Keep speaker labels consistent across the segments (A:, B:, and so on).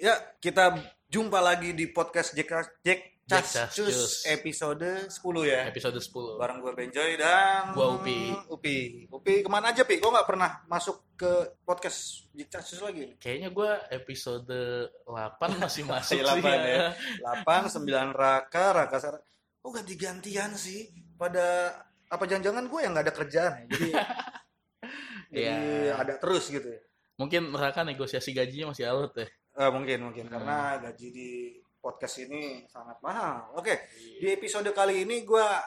A: Ya, kita jumpa lagi di podcast Jack Jack
B: Jack
A: Casus
B: Casus.
A: episode 10 ya.
B: episode 10
A: Bareng gue Benjoy dan
B: Gua Upi.
A: Upi. Upi kemana aja, Pi? Gue nggak pernah masuk ke podcast Jack Casus lagi.
B: kayaknya gue episode 8 masih masuk
A: Masih
B: sih
A: 8 ya. 8, 9 Raka, Raka Sar. Oh, ganti-gantian sih. Pada apa jangan-jangan gue yang nggak ada kerjaan ya. Jadi jadi
B: Iya.
A: ada terus gitu ya.
B: mungkin mereka negosiasi gajinya masih alot ya
A: Eh, mungkin mungkin
B: Hmm.
A: karena gaji di podcast ini sangat mahal. Oke, di episode kali ini gua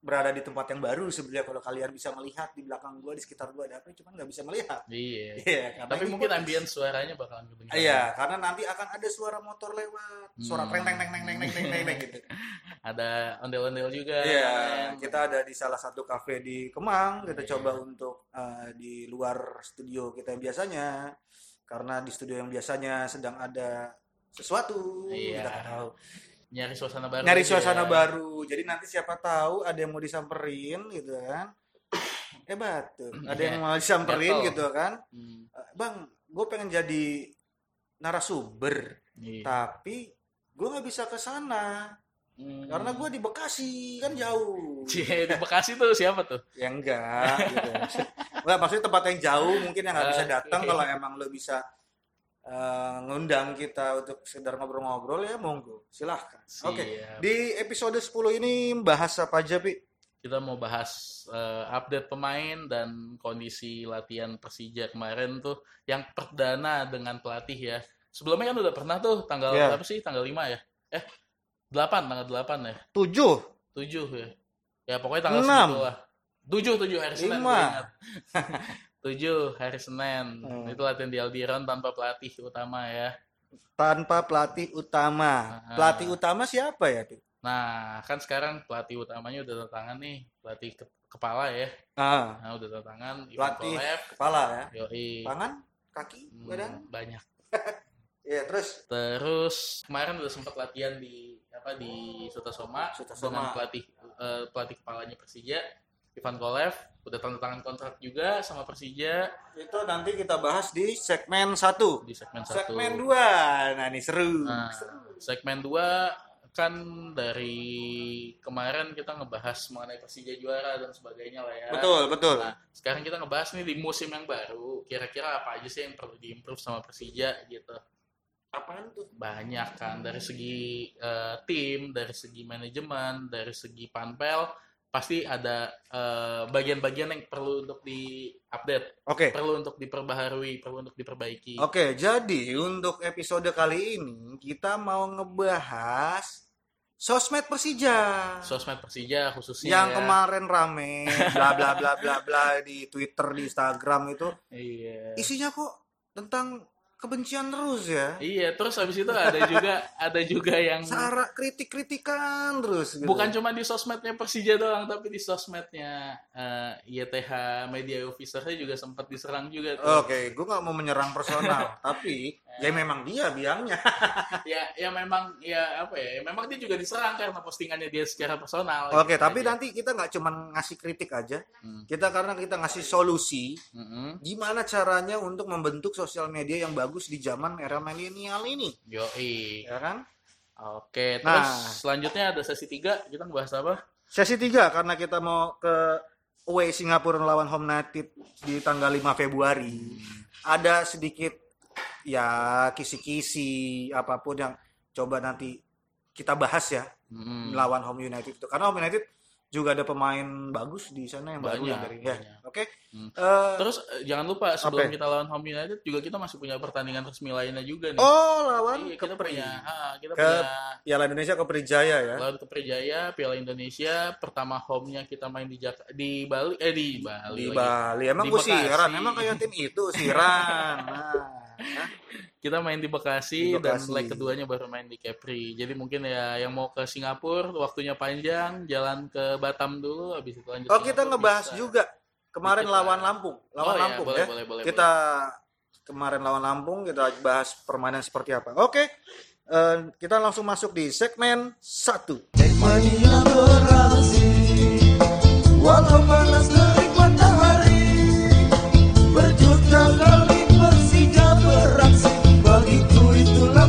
A: berada di tempat yang baru sebenarnya kalau kalian bisa melihat di belakang gua di sekitar gua ada apa cuman nggak bisa melihat.
B: iya
A: Iya, karena
B: tapi
A: ini
B: mungkin
A: gua-
B: ambien suaranya bakalan kedengeran
A: Iya, karena nanti akan ada suara motor lewat, suara
B: Hmm.
A: teng teng teng teng teng teng teng teng, teng, gitu.
B: ada ondel-ondel juga
A: Iya,
B: kan.
A: kita ada di salah satu kafe di Kemang. Kita
B: Iya.
A: coba untuk eh, di luar studio kita yang biasanya, karena di studio yang biasanya sedang ada sesuatu.
B: Iya.
A: Kita nggak tahu.
B: nyari suasana baru
A: nyari
B: aja
A: suasana
B: ya.
A: baru. Jadi nanti siapa tahu ada yang mau disamperin gitu kan. Eh batu, ada yang mau disamperin
B: Gatel.
A: gitu kan.
B: Hmm,
A: Eh, Bang, gue pengen jadi narasumber,
B: iya.
A: tapi gue nggak bisa ke sana
B: Hmm.
A: karena gue di Bekasi kan jauh.
B: Cie, di Bekasi tuh siapa tuh
A: Ya enggak gitu. Enggak, maksudnya tempat yang jauh mungkin yang nggak bisa
B: Oke.
A: datang kalau emang lo bisa eh, ngundang kita untuk sekedar ngobrol-ngobrol ya monggo, silahkan. Oke.
B: Siap.
A: Di episode 10 ini bahas apa aja, Pi?
B: kita mau bahas eh, update pemain dan kondisi latihan Persija kemarin tuh yang perdana dengan pelatih ya. Sebelumnya kan udah pernah tuh tanggal
A: Iya.
B: apa sih? Tanggal 5 ya. Eh 8 tanggal 8 ya.
A: 7,
B: 7 ya. Ya pokoknya tanggal
A: Enam.
B: 10 lah. 7 7 hari
A: Lima.
B: Senin gua ingat. 7 hari Senin.
A: Hmm.
B: Itu latihan di Albion tanpa pelatih utama ya.
A: tanpa pelatih utama.
B: Ah.
A: Pelatih utama siapa ya, Pi?
B: Nah, kan sekarang pelatih utamanya udah tanda tangan nih, pelatih ke- kepala ya.
A: Ah,
B: Nah, udah tanda tangan Ivan
A: Pelatih
B: Kolev.
A: kepala ya.
B: Yoi.
A: Tangan, kaki,
B: Hmm,
A: badan.
B: banyak
A: Ya, terus
B: terus kemarin udah sempat latihan di
A: Oh.
B: apa di Sutasoma, dengan
A: Sutasoma.
B: pelatih eh, pelatih kepalanya Persija Ivan Kolev udah tanda tangan kontrak juga sama Persija
A: itu nanti kita bahas di segmen 1.
B: di segmen satu
A: Segmen 2. Nah, ini seru.
B: Nah,
A: Seru.
B: segmen dua kan dari kemarin kita ngebahas mengenai Persija juara dan sebagainya lah ya
A: Betul, betul.
B: Nah, sekarang kita ngebahas nih di musim yang baru kira-kira apa aja sih yang perlu diimprove sama Persija gitu
A: Apaan tuh?
B: banyak kan dari segi eh, tim, dari segi manajemen, dari segi panpel pasti ada eh, bagian-bagian yang perlu untuk diupdate,
A: Oke.
B: perlu untuk diperbaharui, perlu untuk diperbaiki.
A: Oke, jadi untuk episode kali ini kita mau ngebahas sosmed Persija.
B: Sosmed Persija khususnya
A: yang
B: ya.
A: kemarin rame bla bla bla bla bla di Twitter di Instagram itu
B: Iya.
A: isinya kok tentang kebencian terus ya
B: Iya, terus habis itu ada juga ada juga yang
A: searah kritik kritikan terus gitu.
B: Iya. bukan cuma di sosmednya Persija doang, tapi di sosmednya eh, YTH Media Officer-nya juga sempat diserang juga tuh.
A: Oke, gue nggak mau menyerang personal, tapi ya
B: Iya.
A: memang dia biangnya.
B: ya ya memang ya apa ya memang dia juga diserang karena postingannya dia secara personal
A: Oke,
B: gitu
A: tapi
B: aja.
A: nanti kita nggak cuma ngasih kritik aja,
B: Hmm.
A: kita karena kita ngasih solusi,
B: Mm-mm.
A: gimana caranya untuk membentuk sosial media yang bagus di zaman era milenial ini,
B: yoi
A: ya kan?
B: oke terus
A: Nah.
B: selanjutnya ada sesi tiga kita ngebahas apa
A: Sesi 3 karena kita mau ke away Singapura melawan Home United di tanggal 5 Februari. Ada sedikit ya kisi-kisi apapun yang coba nanti kita bahas ya
B: Mm-mm.
A: melawan Home United itu. Karena Home United juga ada pemain bagus di sana yang baru
B: Banyak,
A: yang dari ya.
B: banyak.
A: Oke.
B: Hmm.
A: Eh,
B: terus eh, jangan lupa sebelum
A: Apa?
B: kita lawan Home United juga kita masih punya pertandingan resmi lainnya juga nih
A: oh lawan
B: Iya, kita
A: Kepri.
B: punya ah, kita
A: Ke-
B: punya
A: Piala Indonesia Kepri Jaya ya.
B: lawan Keperjaya Piala Indonesia pertama home-nya kita main di Jak- di Bali eh di Bali
A: Di
B: lagi.
A: Bali. Emang
B: Di
A: gue
B: Bekasi.
A: siran, emang kayak tim itu siran. Nah.
B: kita main di Bekasi,
A: Di
B: dan
A: Bekasi.
B: leg keduanya baru main di Kepri. Jadi mungkin ya yang mau ke Singapura waktunya panjang, jalan ke Batam dulu habis itu lanjut
A: Oh kita
B: Singapura
A: ngebahas
B: bisa.
A: juga kemarin
B: Dikit lah.
A: lawan Lampung, lawan
B: Oh,
A: Lampung
B: boleh,
A: ya.
B: Boleh, boleh,
A: kita kemarin lawan Lampung kita bahas permainan seperti apa. Oke, eh, kita langsung masuk di segmen satu.
C: Segmennya berasi Walau panas terik matahari Berjuta kali Persija beraksi Bagiku itulah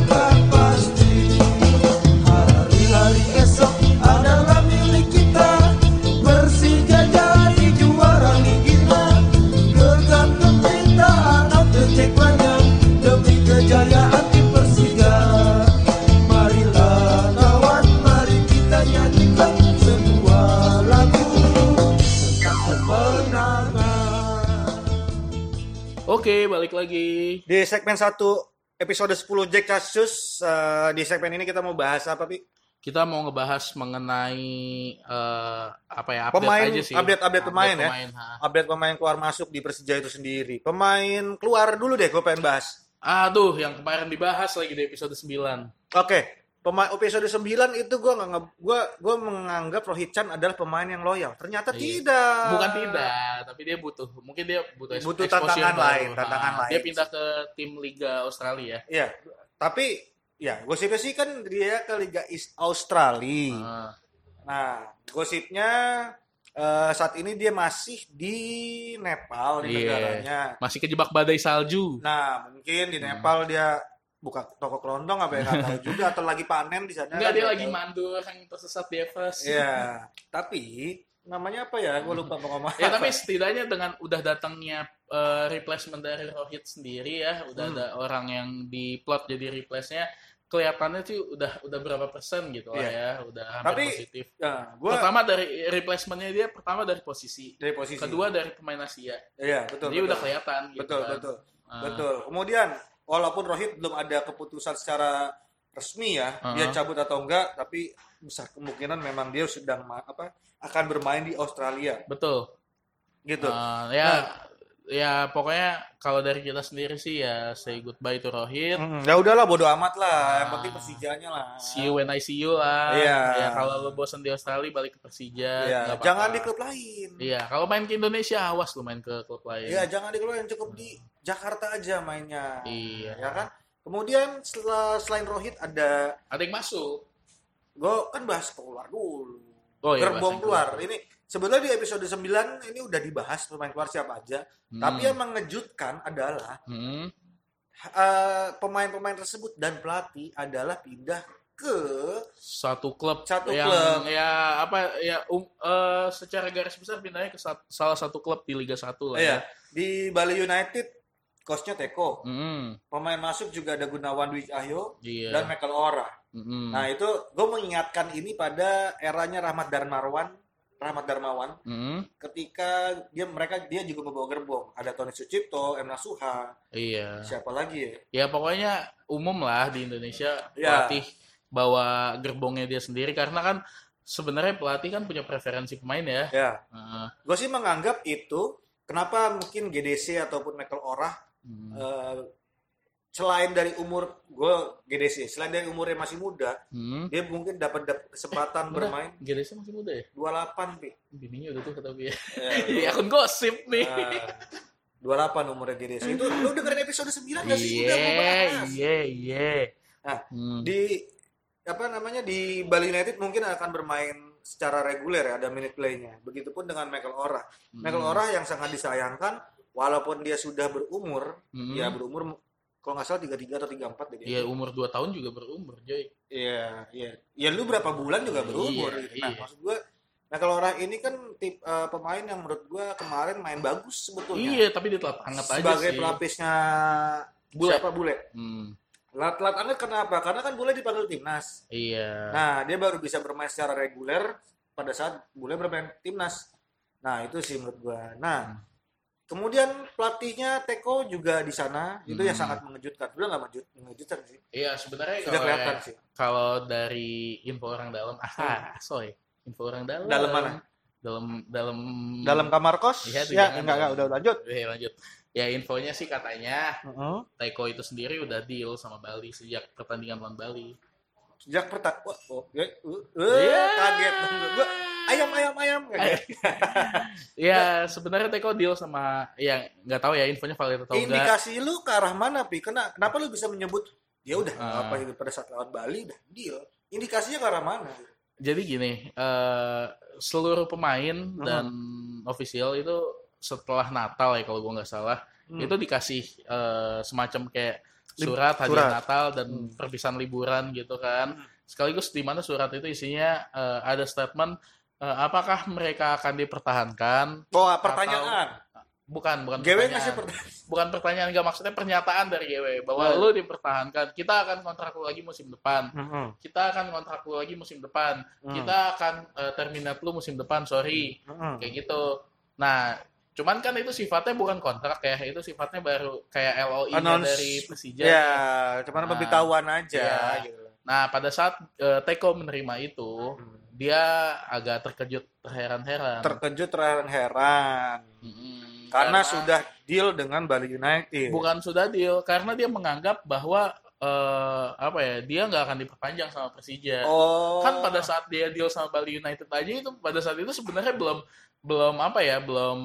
B: balik lagi.
A: Di segmen 1 episode 10 Jack Kasus eh, di segmen ini kita mau bahas apa Pi?
B: Kita mau ngebahas mengenai eh, apa ya update
A: Pemain,
B: aja sih.
A: update-update pemain ya?
B: ha.
A: Update pemain keluar masuk di Persija itu sendiri. Pemain keluar dulu deh gue pengen bahas.
B: Aduh, yang kemarin dibahas lagi di episode 9.
A: Oke. Pemain episode 9 itu gue nggak nge- gua gua menganggap Rohit Chan adalah pemain yang loyal. Ternyata
B: Iya.
A: tidak.
B: Bukan tidak, tapi dia butuh. Mungkin dia butuh,
A: Ah.
B: ex-
A: Butuh
B: exposure
A: tantangan
B: baru.
A: lain,
B: Ha,
A: tantangan
B: Dia
A: lain.
B: pindah ke tim Liga Australia.
A: Iya. Tapi ya gosipnya sih kan dia ke Liga East Australia.
B: Ah,
A: Nah, gosipnya eh, saat ini dia masih di Nepal di
B: Iya.
A: negaranya.
B: masih kejebak badai salju.
A: Nah, mungkin di
B: Hmm.
A: Nepal dia buka toko kelontong apa ya nggak tahu juga atau lagi panen di sana.
B: Enggak, dia
A: Nggak
B: lagi
A: tahu.
B: mandur yang tersesat di Everest.
A: Nah, Iya, tapi namanya apa ya? Gue lupa mau ngomong.
B: ya
A: apa.
B: tapi setidaknya dengan udah datangnya eh, replacement dari Rohit sendiri ya udah
A: Hmm.
B: ada orang yang diplot jadi replace-nya kelihatannya sih udah udah berapa persen gitu lah
A: Iya.
B: ya udah hampir
A: Tapi-
B: positif
A: ya, gue
B: pertama dari replacement-nya dia pertama dari posisi
A: dari posisi
B: kedua dari pemain Asia
A: Iya, betul.
B: jadi
A: betul.
B: udah kelihatan gitu
A: betul,
B: kan.
A: betul,
B: Ah,
A: betul. Kemudian walaupun Rohit belum ada keputusan secara resmi ya,
B: Uh-huh.
A: dia cabut atau enggak, tapi besar kemungkinan memang dia sedang ma- apa akan bermain di Australia
B: betul
A: gitu.
B: Ah, ya ya pokoknya kalau dari kita sendiri sih ya say goodbye to Rohit
A: Mm, ya udahlah bodo amat lah, yang
B: Ah.
A: penting Persijanya lah.
B: See you when I see you lah.
A: Iya.
B: Ya, kalau lo bosan di Australia balik ke Persija.
A: Iya,
B: nggak apa-apa.
A: jangan di klub lain.
B: Iya, kalau main ke Indonesia awas lu main ke klub lain.
A: Iya, jangan di klub lain, cukup di Jakarta aja mainnya.
B: Iya.
A: Ya kan? Kemudian setelah selain Rohit ada
B: Ada yang masuk.
A: gue kan bahas keluar dulu.
B: Oh iya, bahas
A: Gerbong
B: yang
A: keluar. Ini sebenarnya di episode 9 ini udah dibahas pemain keluar siapa aja.
B: Hmm.
A: Tapi ya- yang mengejutkan adalah
B: Hmm.
A: eh, pemain-pemain tersebut dan pelatih adalah pindah ke
B: satu klub
A: Satu
B: yang
A: klub.
B: ya apa ya um- eh, secara garis besar pindahnya ke sat- salah satu klub di Liga 1 lah ya.
A: Iya, di Bali United coachnya Teko.
B: Hmm.
A: Pemain masuk juga ada Gunawan Dwi Cahyo
B: Iya.
A: dan Michael Ora.
B: Hmm.
A: Nah itu gue mengingatkan ini pada eranya Rahmat Darmawan, Rahmat Darmawan
B: Hmm.
A: ketika dia mereka dia juga membawa gerbong ada Tony Sucipto, M Nasuha,
B: Iya.
A: siapa lagi ya?
B: Ya pokoknya umum lah di
A: Iya.
B: Indonesia pelatih bawa gerbongnya dia sendiri karena kan sebenarnya pelatih kan punya preferensi pemain ya.
A: Ya,
B: Heeh.
A: gue sih menganggap itu kenapa mungkin GDC ataupun Michael Orah
B: Hmm.
A: eh, selain dari umur gue GDC, selain dari umurnya masih muda,
B: Hmm.
A: dia mungkin dapat dapat kesempatan
B: Udah,
A: bermain
B: Gilesnya masih muda ya?
A: 28 pi.
B: Bininya udah tuh tapi ya.
A: Eh,
B: Di akun gosip nih.
A: eh, 28 umurnya GDC itu lu dengerin episode 9 gak sih? Udah gue
B: Iya,
A: bahas.
B: iya, iya.
A: Ah,
B: Hmm.
A: di apa namanya di Bali United mungkin akan bermain secara reguler ya ada minute playnya begitupun dengan Michael Ora
B: Hmm.
A: Michael Ora yang sangat disayangkan walaupun dia sudah berumur
B: Hmm.
A: ya berumur kalau nggak salah 33 atau 34 deh dia.
B: Iya, umur 2 tahun juga berumur, Joy.
A: Iya, iya. Ya lu berapa bulan juga berumur
B: Iya,
A: gitu. Nah,
B: iya.
A: maksud gua Michael Ora ini kan tip eh, pemain yang menurut gua kemarin main bagus sebetulnya.
B: Iya, tapi ditelat anget aja
A: Sebagai
B: sih.
A: pelapisnya
B: Bule.
A: siapa Bule?
B: Hmm.
A: Telat telat anget kenapa? Karena kan Bule dipanggil timnas.
B: Iya.
A: Nah, dia baru bisa bermain secara reguler pada saat mulai bermain timnas. Nah, itu sih menurut gua.
B: Hmm.
A: Nah, kemudian pelatihnya Teko juga di sana, itu yang
B: Hmm.
A: sangat mengejutkan. Sebenarnya nggak mengejut- mengejutkan sih.
B: Iya, sebenarnya
A: Sudah
B: kalau
A: kelihatan sih.
B: kalau dari info orang dalam, ah, soy. Info orang dalam.
A: Iya. Dalam mana?
B: Dalam dalam
A: Dalam kamar kos?
B: Iya, tuh,
A: ya,
B: jangan.
A: enggak enggak udah lanjut.
B: Eh, lanjut. Ya, infonya sih katanya
A: Heeh.
B: Taiko itu sendiri udah deal sama Bali sejak pertandingan lawan Bali.
A: Sejak pertama, wah, oh, ya, uh, uh,
B: Iya. Eh,
A: kaget gua. Ayam ayam ayam kaget.
B: Ya, sebenarnya Teko deal sama ya nggak tahu ya infonya valid atau enggak.
A: Indikasi lu ke arah mana, Pi? Kena, kenapa lu bisa menyebut ya udah nggak
B: Ah.
A: apa itu pada saat lawan Bali udah deal. Indikasinya ke arah mana?
B: Jadi gini, eh, seluruh pemain dan official itu setelah Natal ya kalau gua nggak salah,
A: Hmm.
B: itu dikasih eh, semacam kayak
A: Lib-
B: surat hadiah
A: surat.
B: Natal dan
A: Hmm.
B: perpisahan liburan gitu kan. Sekaligus di mana surat itu isinya eh, ada statement eh, apakah mereka akan dipertahankan?
A: Oh, pertanyaan.
B: Bukan, bukan
A: GW
B: pertanyaan.
A: ngasih pertanyaan.
B: bukan pertanyaan enggak maksudnya pernyataan dari GW bahwa
A: Hmm.
B: lu dipertahankan. Kita akan kontrak lu lagi musim depan. Kita akan kontrak lu lagi musim depan.
A: Hmm.
B: Kita akan eh, terminate lu musim depan, sorry. Kayak gitu. Nah, Cuman kan itu sifatnya bukan kontrak ya, itu sifatnya baru kayak LOI
A: Announce.
B: dari Persija.
A: Ya, cuman
B: Nah,
A: pemberitahuan aja
B: iya.
A: gitu.
B: Nah, pada saat eh, Teko menerima itu, dia agak terkejut, terheran-heran.
A: Terkejut terheran-heran
B: Mm-mm,
A: karena, sudah deal dengan Bali United.
B: bukan sudah deal, karena dia menganggap bahwa eh, apa ya, dia nggak akan diperpanjang sama Persija.
A: Oh.
B: kan pada saat dia deal sama Bali United aja itu pada saat itu sebenarnya belum belum apa ya belum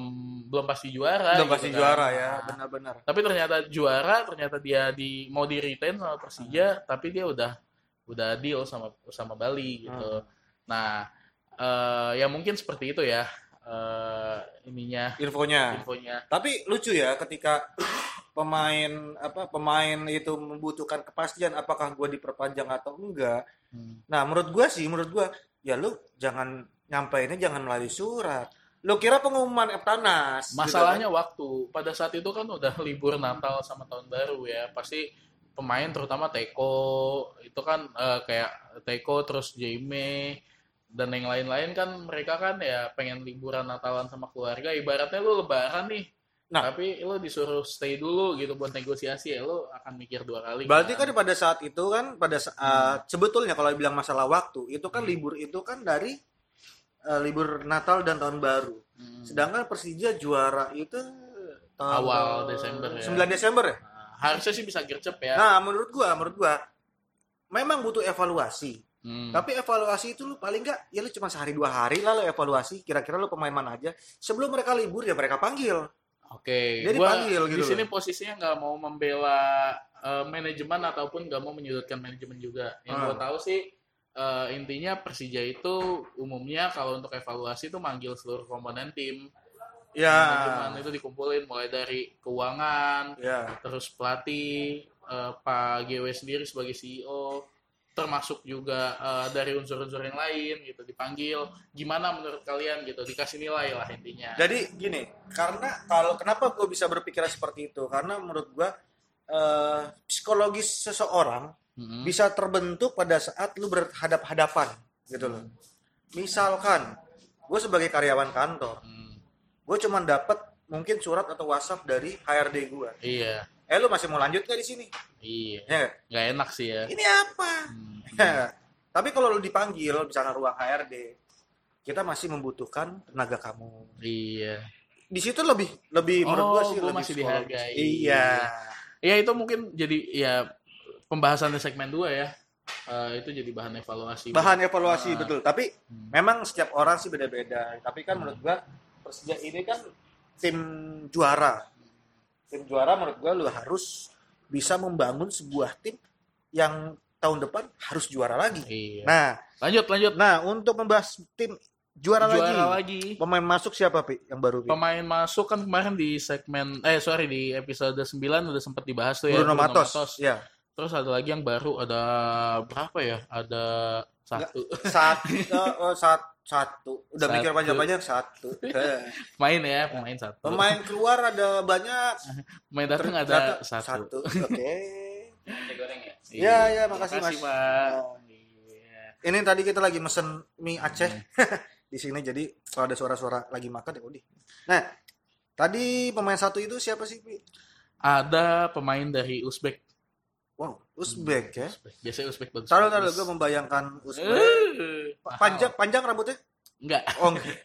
B: belum pasti juara
A: udah
B: gitu
A: pasti
B: kan.
A: juara ya,
B: Nah,
A: benar-benar.
B: tapi ternyata juara ternyata dia di mau di retain sama Persija tapi dia udah udah deal sama sama Bali gitu nah eh, ya mungkin seperti itu ya eh, ininya
A: Infonya.
B: infonya
A: Tapi lucu ya ketika pemain apa pemain itu membutuhkan kepastian apakah gue diperpanjang atau enggak.
B: Hmm.
A: Nah, menurut gua sih, menurut gua ya lu jangan nyampeinnya jangan melalui surat. Lu kira pengumuman Eptanas. gitu
B: Masalahnya waktu. Pada saat itu kan udah libur Natal sama tahun baru ya. Pasti pemain terutama Teko itu kan eh, kayak Teko terus Jaime dan yang lain-lain kan mereka kan ya pengen liburan Natalan sama keluarga. Ibaratnya lu lebaran nih.
A: Nah.
B: Tapi lu disuruh stay dulu gitu buat negosiasi ya lu akan mikir dua
A: kan?
B: kali.
A: Berarti kan pada saat itu kan pada
B: Hmm.
A: saat sebetulnya kalau bilang masalah waktu, itu kan libur itu kan dari eh, libur Natal dan tahun baru.
B: Hmm.
A: Sedangkan Persija juara itu tahun
B: Awal Desember ya.
A: 9 Desember ya?
B: Nah, harusnya sih bisa gercep ya.
A: Nah, menurut gua, menurut gua memang butuh evaluasi.
B: Hmm.
A: Tapi evaluasi itu lu paling nggak ya lu cuma sehari dua hari lah lu evaluasi kira-kira lu pemain mana aja sebelum mereka libur ya mereka panggil.
B: Oke,
A: Dia
B: gua
A: dipanggil gitu
B: di
A: loh.
B: sini posisinya nggak mau membela eh, manajemen ataupun nggak mau menyudutkan manajemen juga. Yang gua
A: Ah.
B: tahu sih eh, intinya Persija itu umumnya kalau untuk evaluasi itu manggil seluruh komponen tim,
A: Ya. Ah. Nah,
B: manajemen itu dikumpulin mulai dari keuangan,
A: Ya.
B: terus pelatih, eh, Pak GW sendiri sebagai CEO, termasuk juga eh, dari unsur-unsur yang lain gitu dipanggil. Gimana menurut kalian gitu? Dikasih nilai lah intinya.
A: Jadi gini, karena kalau kenapa gue bisa berpikiran seperti itu? Karena menurut gue eh, psikologis seseorang
B: Mm-mm.
A: bisa terbentuk pada saat lu berhadap-hadapan gitu loh. Misalkan gue sebagai karyawan kantor,
B: Mm.
A: gue cuma dapat mungkin surat atau WhatsApp dari HRD gue.
B: Iya,
A: Eh lu masih mau lanjut nggak di sini?
B: iya.
A: Ya,
B: nggak enak sih ya.
A: ini apa?
B: Hmm.
A: Ya, Tapi kalau lu dipanggil misalnya ruang HRD, kita masih membutuhkan tenaga kamu.
B: Iya.
A: Di situ lebih lebih
B: Oh,
A: menurut gua sih
B: gua
A: lebih
B: masih
A: psikologis.
B: dihargai.
A: Iya.
B: Ya itu mungkin jadi ya pembahasan di segmen 2 ya. Eh, itu jadi bahan evaluasi.
A: Bahan evaluasi
B: Ah.
A: betul. Tapi
B: Hmm.
A: memang setiap orang sih beda-beda. Tapi kan menurut gua Persija ini kan tim juara. Tim juara menurut gua lu harus bisa membangun sebuah tim yang tahun depan harus juara lagi.
B: Iya.
A: Nah,
B: lanjut lanjut.
A: nah untuk membahas tim juara,
B: Juara
A: lagi.
B: lagi.
A: Pemain masuk siapa, Pi? Yang baru, Pi?
B: Pemain masuk kan kemarin di segmen eh sorry di episode 9 udah sempat dibahas tuh ya
A: Bruno Matos. Ya.
B: Terus ada lagi yang baru ada berapa ya? Ada satu.
A: Satu, oh, sat- satu. Udah
B: Satu.
A: mikir panjang-panjang satu. Heh.
B: Pemain ya, pemain satu. Pemain,
A: Pemain keluar ada banyak.
B: datang ada
A: Ternyata
B: satu.
A: Oke.
B: goreng ya?
A: Iya, iya, makasih, Mas.
B: Makasih,
A: Oh,
B: Pak. Iya.
A: Ini tadi kita lagi mesen mie Aceh
B: Hmm.
A: di sini jadi kalau ada suara-suara lagi makan ya udah. Nah, tadi pemain satu itu siapa sih, Pi?
B: ada pemain dari Uzbek.
A: Wow, Uzbek ya.
B: Uzbek. Biasanya Uzbek bagus.
A: Taruh taruh gue membayangkan Uzbek.
B: Eh, mahal.
A: Panjang panjang rambutnya?
B: Enggak,
A: Oh. enggak.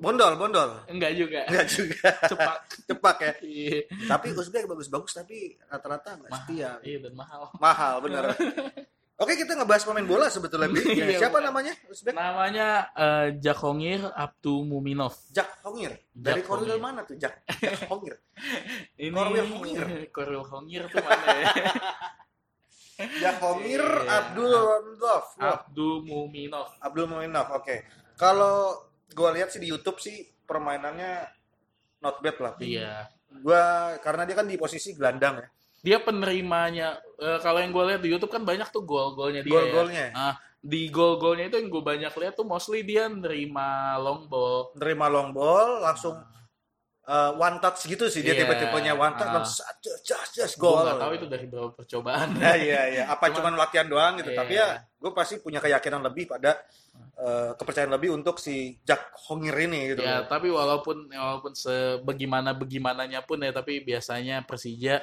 A: Bondol, bondol.
B: enggak juga.
A: Enggak juga.
B: Cepat.
A: Cepak ya.
B: Iya,
A: Tapi Uzbek bagus-bagus tapi rata-rata nggak
B: mahal.
A: setia.
B: Iya, dan mahal.
A: Mahal bener. Oke kita ngebahas pemain bola sebetulnya. Bi.
B: Iya,
A: Siapa
B: bener.
A: namanya? Uzbek?
B: Namanya eh, Jakhongir Abdu Muminov.
A: Jack Hongir. Dari
B: Jack
A: Korwil
B: Hongir.
A: mana tuh Jack? Jack Hongir.
B: Ini
A: Korwil Hongir.
B: Korwil Hongir tuh mana ya?
A: Jack Hongir
B: Iya.
A: Abdul Romdov.
B: Abdu Muminov.
A: Abdul Muminov. Oke. Kalau gua lihat sih di YouTube sih permainannya not bad lah. Bi.
B: Iya.
A: Gua karena dia kan di posisi gelandang ya.
B: Dia penerimanya eh, kalau yang gue lihat di YouTube kan banyak tuh gol-golnya dia. ya.
A: Gol-golnya.
B: Ah, di gol-golnya itu yang gue banyak lihat tuh mostly dia nerima long ball.
A: Nerima long ball langsung eh, one touch gitu sih dia
B: Ah. Iya.
A: tipe-tipenya one touch
B: Ah.
A: langsung just just just
B: Gue
A: gol.
B: nggak tahu itu dari berapa percobaan.
A: Nah, iya iya. Apa
B: Cuman-
A: cuman, latihan doang gitu. Tapi
B: Iya. Ah.
A: ya gue pasti punya keyakinan lebih pada eh, kepercayaan lebih untuk si Jack Hongir ini gitu.
B: Ya, tapi walaupun walaupun sebagaimana bagaimananya pun ya, tapi biasanya Persija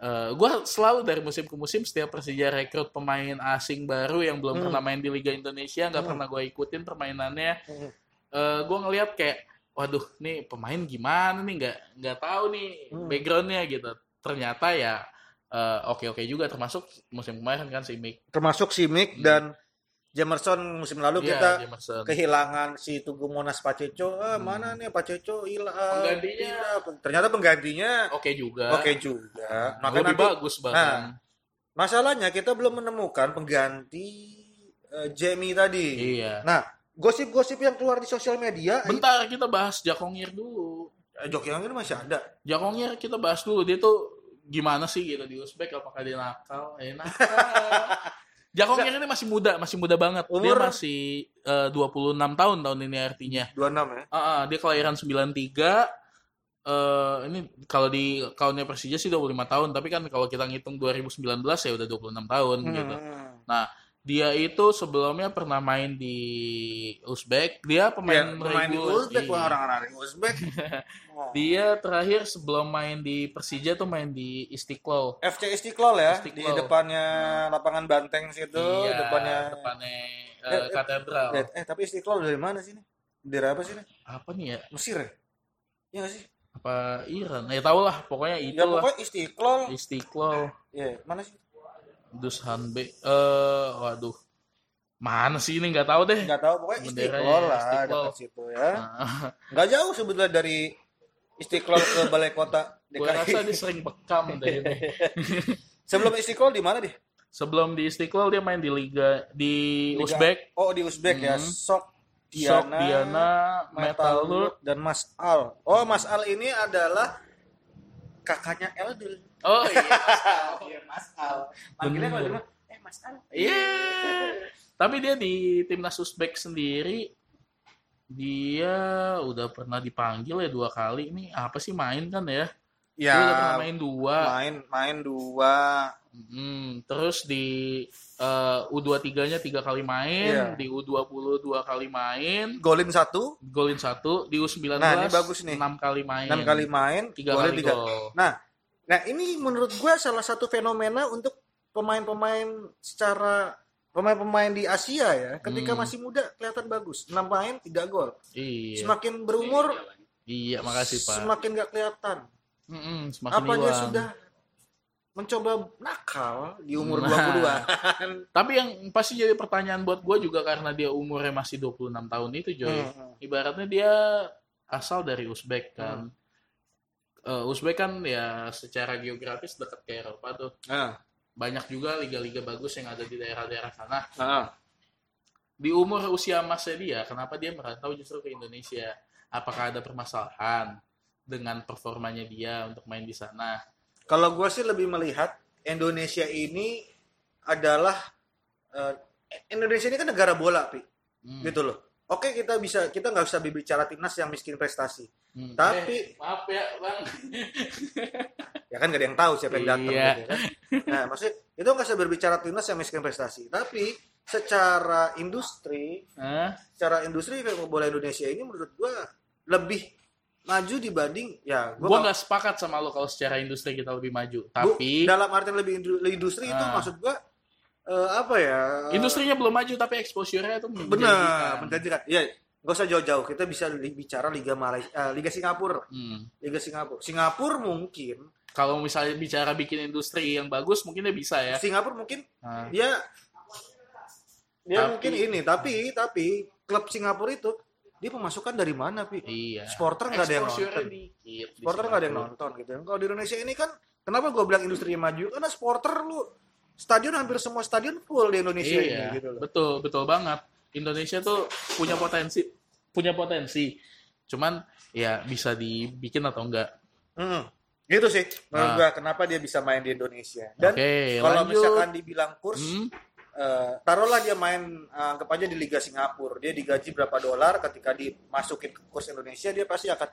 B: eh gue selalu dari musim ke musim setiap Persija rekrut pemain asing baru yang belum
A: Hmm.
B: pernah main di Liga Indonesia nggak
A: Hmm.
B: pernah gue ikutin permainannya
A: Hmm.
B: eh gue ngelihat kayak waduh nih pemain gimana nih nggak nggak tahu nih
A: Hmm.
B: backgroundnya gitu ternyata ya oke oke juga termasuk musim kemarin kan si Mick
A: Termasuk si Mick
B: Hmm.
A: dan Jamerson musim lalu
B: Iya,
A: kita
B: Jamerson. Hmm.
A: kehilangan si Tugu Monas Paceco. Ah, mana nih Paceco hilang.
B: Penggantinya. Iya.
A: Hilang. Ternyata penggantinya
B: oke juga
A: oke juga. Makanya
B: lebih
A: nanti- Nah,
B: bagus bahkan
A: masalahnya kita belum menemukan pengganti eh, Jamie tadi.
B: iya
A: Nah, gosip-gosip yang keluar di sosial media,
B: Bentar kita bahas Jakongir dulu.
A: eh, Joki Angin masih ada.
B: Jakongir kita bahas dulu dia tuh gimana sih gitu di Uzbek apakah dia nakal? Eh nakal. Jakongir ini masih muda, masih muda banget. Dia
A: Umur-
B: masih eh, 26 tahun tahun ini artinya.
A: 26 ya.
B: Ah, ah, dia kelahiran 93. Eh ini kalau di kaunnya Persija sih 25 tahun, tapi kan kalau kita ngitung 2019 ya udah 26 tahun
A: Hmm.
B: gitu. Dia itu sebelumnya pernah main di Uzbek. Dia
A: Main,
B: pemain
A: main di
B: reguler.
A: Uzbek,
B: Iya.
A: wah, orang-orang di Uzbek. Oh.
B: Dia terakhir sebelum main di Persija tuh main di Istiqlal.
A: FC Istiqlal ya, di
B: Istiqlal.
A: depannya lapangan Banteng situ,
B: Iya,
A: Oh, depannya.
B: depannya eh,
A: Eh, eh,
B: katedral.
A: Eh, Eh, tapi Istiqlal dari mana sih ini? Dari apa sih ini?
B: Apa nih ya?
A: Mesir ya? Iya nggak sih?
B: Apa Iran? Ya tau lah, pokoknya
A: Ya
B: itulah.
A: pokoknya Istiqlal.
B: Istiqlal,
A: Ya, mana sih?
B: Dushanbe. Eh, waduh. Mana sih ini nggak tahu deh.
A: Nggak tahu, pokoknya
B: Benderanya
A: Istiqlal lah
B: Istiqlal.
A: dekat situ ya.
B: Nah,
A: Nggak jauh sebetulnya dari Istiqlal ke Balai Kota
B: gue rasa dia
A: DKI.
B: sering bekam deh ini.
A: Sebelum Istiqlal di mana deh?
B: Sebelum di Istiqlal dia main di Liga di
A: Liga-
B: Uzbek,
A: Oh, di Uzbek ya.
B: Hmm.
A: Sok Diana,
B: Sok Diana, Metalurg.
A: Metalurg, dan Mas Al. Oh, Mas Al ini adalah kakaknya Eldul.
B: Oh iya.
A: Iya, Mas Al. Manggilnya
B: Bener.
A: kalau di rumah, eh Mas Al.
B: Iya. Tapi dia di timnas Uzbek sendiri dia udah pernah dipanggil ya dua kali. Ini apa sih main kan ya?
A: Ya,
B: Dia udah pernah main dua.
A: main main dua.
B: Mm, terus di eh, U23-nya tiga kali main,
A: Iya.
B: di U20 dua kali main,
A: Golin satu,
B: golin satu, di U19
A: Nah, ini bagus nih.
B: enam kali main.
A: enam kali main,
B: tiga
A: golin
B: kali
A: tiga.
B: gol.
A: Nah, nah ini menurut gue salah satu fenomena untuk pemain-pemain secara pemain-pemain di Asia ya, ketika
B: Hmm.
A: masih muda kelihatan bagus, 6 main 3 gol.
B: Iya.
A: Semakin berumur
B: iya, makasih, Pak.
A: semakin gak kelihatan.
B: Mm-mm, semakin
A: Apa dia
B: hilang.
A: sudah mencoba nakal di umur
B: Nah.
A: 22-an?
B: Tapi yang pasti jadi pertanyaan buat gue juga karena dia umurnya masih 26 tahun itu, Joy.
A: Hmm.
B: Ibaratnya dia asal dari Uzbek kan.
A: Hmm.
B: Eh, Uzbek kan ya secara geografis dekat ke Eropa tuh.
A: Ah,
B: Banyak juga liga-liga bagus yang ada di daerah-daerah sana.
A: ah.
B: Di umur usia emasnya dia, kenapa dia merantau justru ke Indonesia? Apakah ada permasalahan dengan performanya dia untuk main di sana?
A: Kalau gue sih lebih melihat Indonesia ini adalah eh, Indonesia ini kan negara bola, Pi.
B: Hmm.
A: gitu loh. Oke kita bisa kita nggak usah berbicara timnas yang miskin prestasi.
B: Hmm.
A: Tapi-
B: Eh, maaf ya, Bang.
A: Ya kan gak ada yang tahu siapa yang datang.
B: Iya.
A: gitu kan. Nah maksudnya itu nggak usah berbicara timnas yang miskin prestasi. Tapi secara industri,
B: Hah?
A: secara industri sepak bola Indonesia ini menurut gua lebih maju dibanding ya
B: Gue nggak sepakat sama lo kalau secara industri kita lebih maju, tapi
A: dalam artian lebih indu- industri itu
B: Ah.
A: maksud gua eh, apa ya?
B: industrinya belum maju tapi exposure-nya tuh
A: benar
B: menjanjikan.
A: menjanjikan. Iya nggak usah jauh-jauh kita bisa li- bicara Liga Malaysia, eh, Liga Singapura,
B: Hmm.
A: Liga Singapura. Singapura mungkin
B: Kalau misalnya bicara bikin industri yang bagus, mungkin dia bisa ya.
A: Singapura mungkin
B: Nah,
A: dia dia
B: Tapi-
A: mungkin ini tapi tapi klub Singapura itu dia pemasukan dari mana pi?
B: iya.
A: Supporter nggak ada yang
B: Exposure-nya
A: nonton.
B: dikit. di
A: Supporter nggak ada yang
B: Singapura.
A: nonton gitu. Kalau di Indonesia ini kan kenapa gue bilang industri maju? Karena supporter lu stadion hampir semua stadion full di Indonesia
B: Iya,
A: ini gitu loh.
B: betul, betul banget. Indonesia tuh punya potensi, punya potensi. Cuman ya bisa dibikin atau enggak.
A: Hmm. Gitu sih menurut
B: Nah.
A: gua kenapa dia bisa main di Indonesia. Dan
B: Oke,
A: kalau
B: lanjut.
A: misalkan dibilang kurs,
B: Hmm,
A: eh, taruhlah dia main eh, anggap aja di Liga Singapura dia digaji berapa dolar ketika dimasukin ke kurs Indonesia dia pasti akan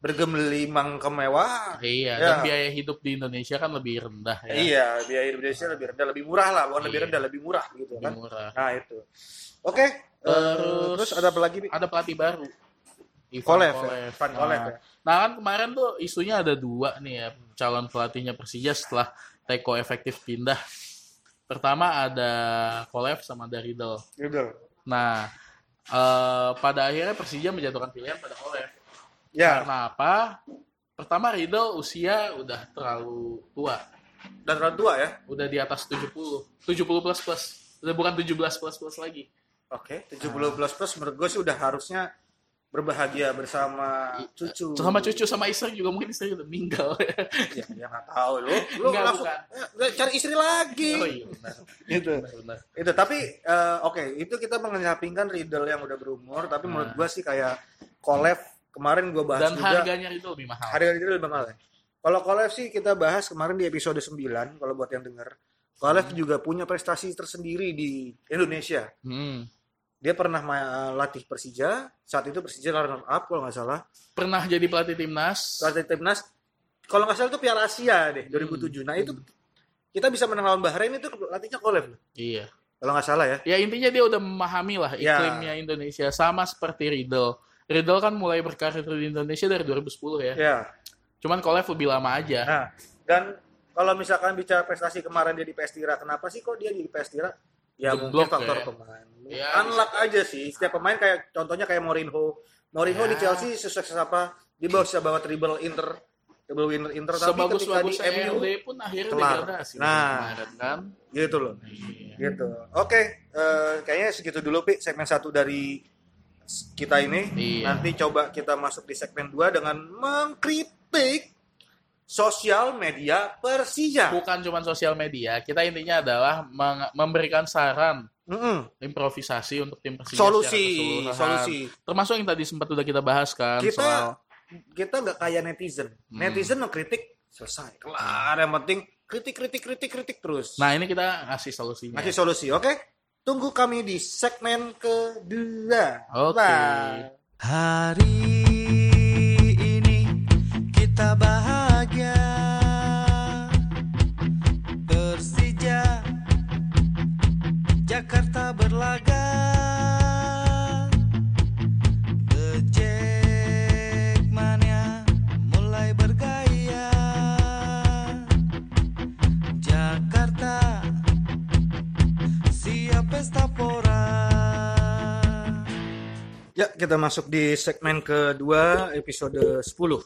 A: bergelimang kemewahan. Ya.
B: Iya, dan biaya hidup di Indonesia kan lebih rendah ya.
A: Iya, biaya Indonesia lebih rendah, lebih murah lah, bukan lebih
B: Iya.
A: rendah, lebih murah gitu
B: Lebih
A: kan.
B: murah.
A: Nah, itu. Oke, eh,
B: Terus-
A: terus ada apa lagi? Bi?
B: Ada pelatih baru. Ivan
A: Kolev,
B: Kolev.
A: ya? Van Kolev.
B: Nah,
A: ya?
B: Nah kan kemarin tuh isunya ada dua nih ya calon pelatihnya Persija setelah Teko efektif pindah. Pertama ada Kolev sama Daridel.
A: Gitu.
B: Nah eh, pada akhirnya Persija menjatuhkan pilihan pada Kolev.
A: Ya,
B: Karena apa? Pertama Riddle usia udah terlalu tua.
A: dan round dua ya.
B: Udah di atas 70. 70 plus plus. Udah bukan 17 plus plus lagi.
A: Oke,
B: Ah.
A: 70 plus plus menurut gue sih udah harusnya berbahagia bersama
B: I- eh,
A: cucu.
B: Sama cucu sama istri juga mungkin istri udah meninggal.
A: Ya, ya nggak tahu lu. Lu
B: Nggak,
A: langsung
B: bukan.
A: eh, cari istri lagi.
B: oh iya benar.
A: Gitu.
B: benar, benar.
A: Itu tapi eh, oke, itu kita mengenyampingkan Riddle yang udah berumur, tapi menurut gue sih kayak Kolev kemarin gue bahas
B: Ah. Dan
A: juga
B: harganya Riddle lebih mahal.
A: harga Riddle lebih mahal. ya. Kalau Kolev sih kita bahas kemarin di episode 9 kalau buat yang denger. Kolev juga punya prestasi tersendiri di Indonesia.
B: Hmm.
A: Dia pernah ma- latih Persija, saat itu Persija runner up kalau nggak salah.
B: Pernah jadi pelatih timnas.
A: Pelatih timnas kalau nggak salah itu Piala Asia deh 2007. Nah itu kita bisa menang lawan Bahrain itu latihnya Kolev loh.
B: Iya.
A: kalau nggak salah ya.
B: Ya intinya dia udah memahami lah
A: Ya.
B: iklimnya Indonesia sama seperti Riddle. Riddle kan mulai berkarir di Indonesia dari 2010 ya.
A: Ya.
B: Cuman Kolev lebih lama aja.
A: Nah dan kalau misalkan bicara prestasi kemarin dia di PS Tira, kenapa sih kok dia di PS Tira? Ya mungkin
B: Jeblok
A: faktor
B: ya.
A: pemain.
B: Ya,
A: Unluck aja sih. Setiap pemain kayak contohnya kayak Mourinho. Mourinho
B: Ya.
A: di Chelsea sukses apa? Di bawah bisa bawa treble Inter, treble winner Inter tapi
B: sebagus
A: ketika di
B: bagus
A: MU
B: MU pun akhirnya
A: kelar.
B: degradasi
A: Nah.
B: kemarin kan.
A: gitu loh. gitu oke eh, kayaknya segitu dulu pi segmen satu dari s- kita ini
B: Iya.
A: nanti coba kita masuk di segmen 2 dengan mengkritik sosial media Persija
B: Bukan cuma sosial media, kita intinya adalah meng- memberikan saran
A: Mm-mm.
B: improvisasi untuk tim Persija secara
A: solusi
B: ya, keseluruhan.
A: solusi
B: Termasuk yang tadi sempat udah kita bahas kan
A: Kita-
B: soal
A: kita nggak kayak netizen
B: Hmm.
A: netizen mengkritik selesai kelar yang penting kritik kritik kritik kritik terus
B: Nah, ini kita ngasih solusinya.
A: ngasih solusi oke tunggu kami di segmen kedua
B: Oke.
A: Bye.
C: Hari ini kita bahagia Persija Jakarta berlaga Becek mania mulai bergaya Jakarta siap pesta pora
A: Ya, kita masuk di segmen kedua episode 10.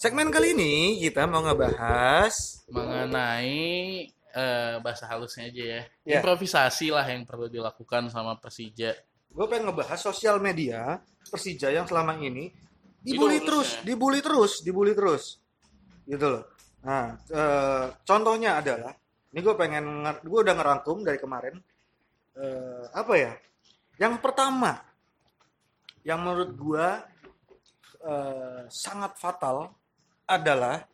A: Segmen kali ini kita mau ngebahas
B: mengenai eh, bahasa halusnya aja ya.
A: Ya.
B: Improvisasi lah yang perlu dilakukan sama Persija.
A: gue pengen ngebahas sosial media Persija yang selama ini
B: Itu
A: dibully
B: harusnya.
A: terus, dibully terus, dibully terus. Gitu loh. Nah, eh, contohnya adalah ini gue pengen gue udah ngerangkum dari kemarin eh, apa ya? Yang pertama yang menurut gue eh, sangat fatal adalah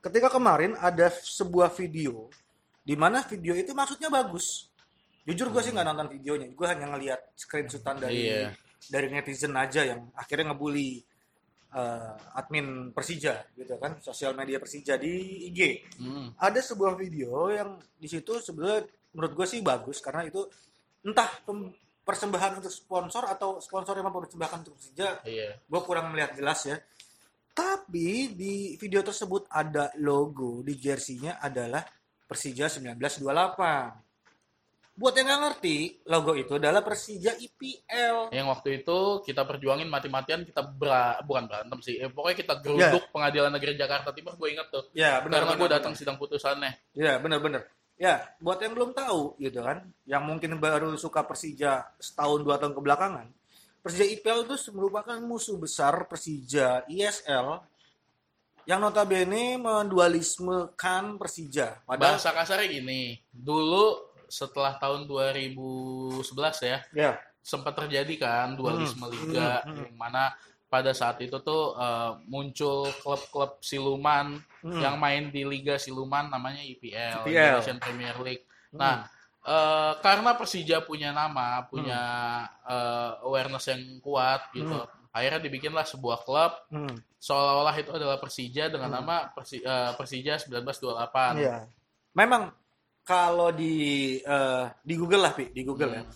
A: ketika kemarin ada sebuah video di mana video itu maksudnya bagus. Jujur gue sih nggak nonton videonya, gue hanya ngelihat screenshotan dari
B: Iya.
A: dari netizen aja yang akhirnya ngebully eh, admin Persija gitu kan, sosial media Persija di IG.
B: Hmm.
A: Ada sebuah video yang di situ sebenarnya menurut gue sih bagus karena itu entah pem- persembahan untuk sponsor atau sponsor yang mempersembahkan untuk Persija,
B: Iya.
A: gue kurang melihat jelas ya. Tapi di video tersebut ada logo di jersinya adalah Persija 1928. Buat yang nggak ngerti, logo itu adalah Persija IPL.
B: Yang waktu itu kita perjuangin mati-matian kita bra- bukan berantem sih. Eh, pokoknya kita geruduk Pengadilan Negeri Jakarta Timur gue ingat tuh.
A: Ya, Iya. benar.
B: Karena
A: benar,
B: gue
A: benar.
B: datang sidang putusannya.
A: Ya, benar-benar. Ya, buat yang belum tahu gitu kan, yang mungkin baru suka Persija setahun dua tahun kebelakangan, Persija IPL itu merupakan musuh besar Persija ISL yang notabene mendualismekan Persija. Padahal,
B: Bahasa kasarnya gini. Dulu setelah tahun 2011 ya,
A: ya,
B: sempat terjadi kan dualisme
A: Hmm.
B: liga
A: Hmm.
B: yang mana pada saat itu tuh eh, muncul klub-klub siluman
A: Hmm. E
B: yang main di liga siluman namanya EPL,
A: EPL.
B: Indonesian Premier League.
A: Hmm.
B: Nah, eh,
A: Hmm.
B: karena Persija punya nama, punya eh, awareness yang kuat gitu. akhirnya dibikinlah sebuah klub
A: Hmm.
B: seolah-olah itu adalah Persija dengan
A: Hmm.
B: nama Persi- eh, Persija 1928.
A: Iya. Memang kalau di eh, di Google lah, Pi, di Google ya.
B: Hmm.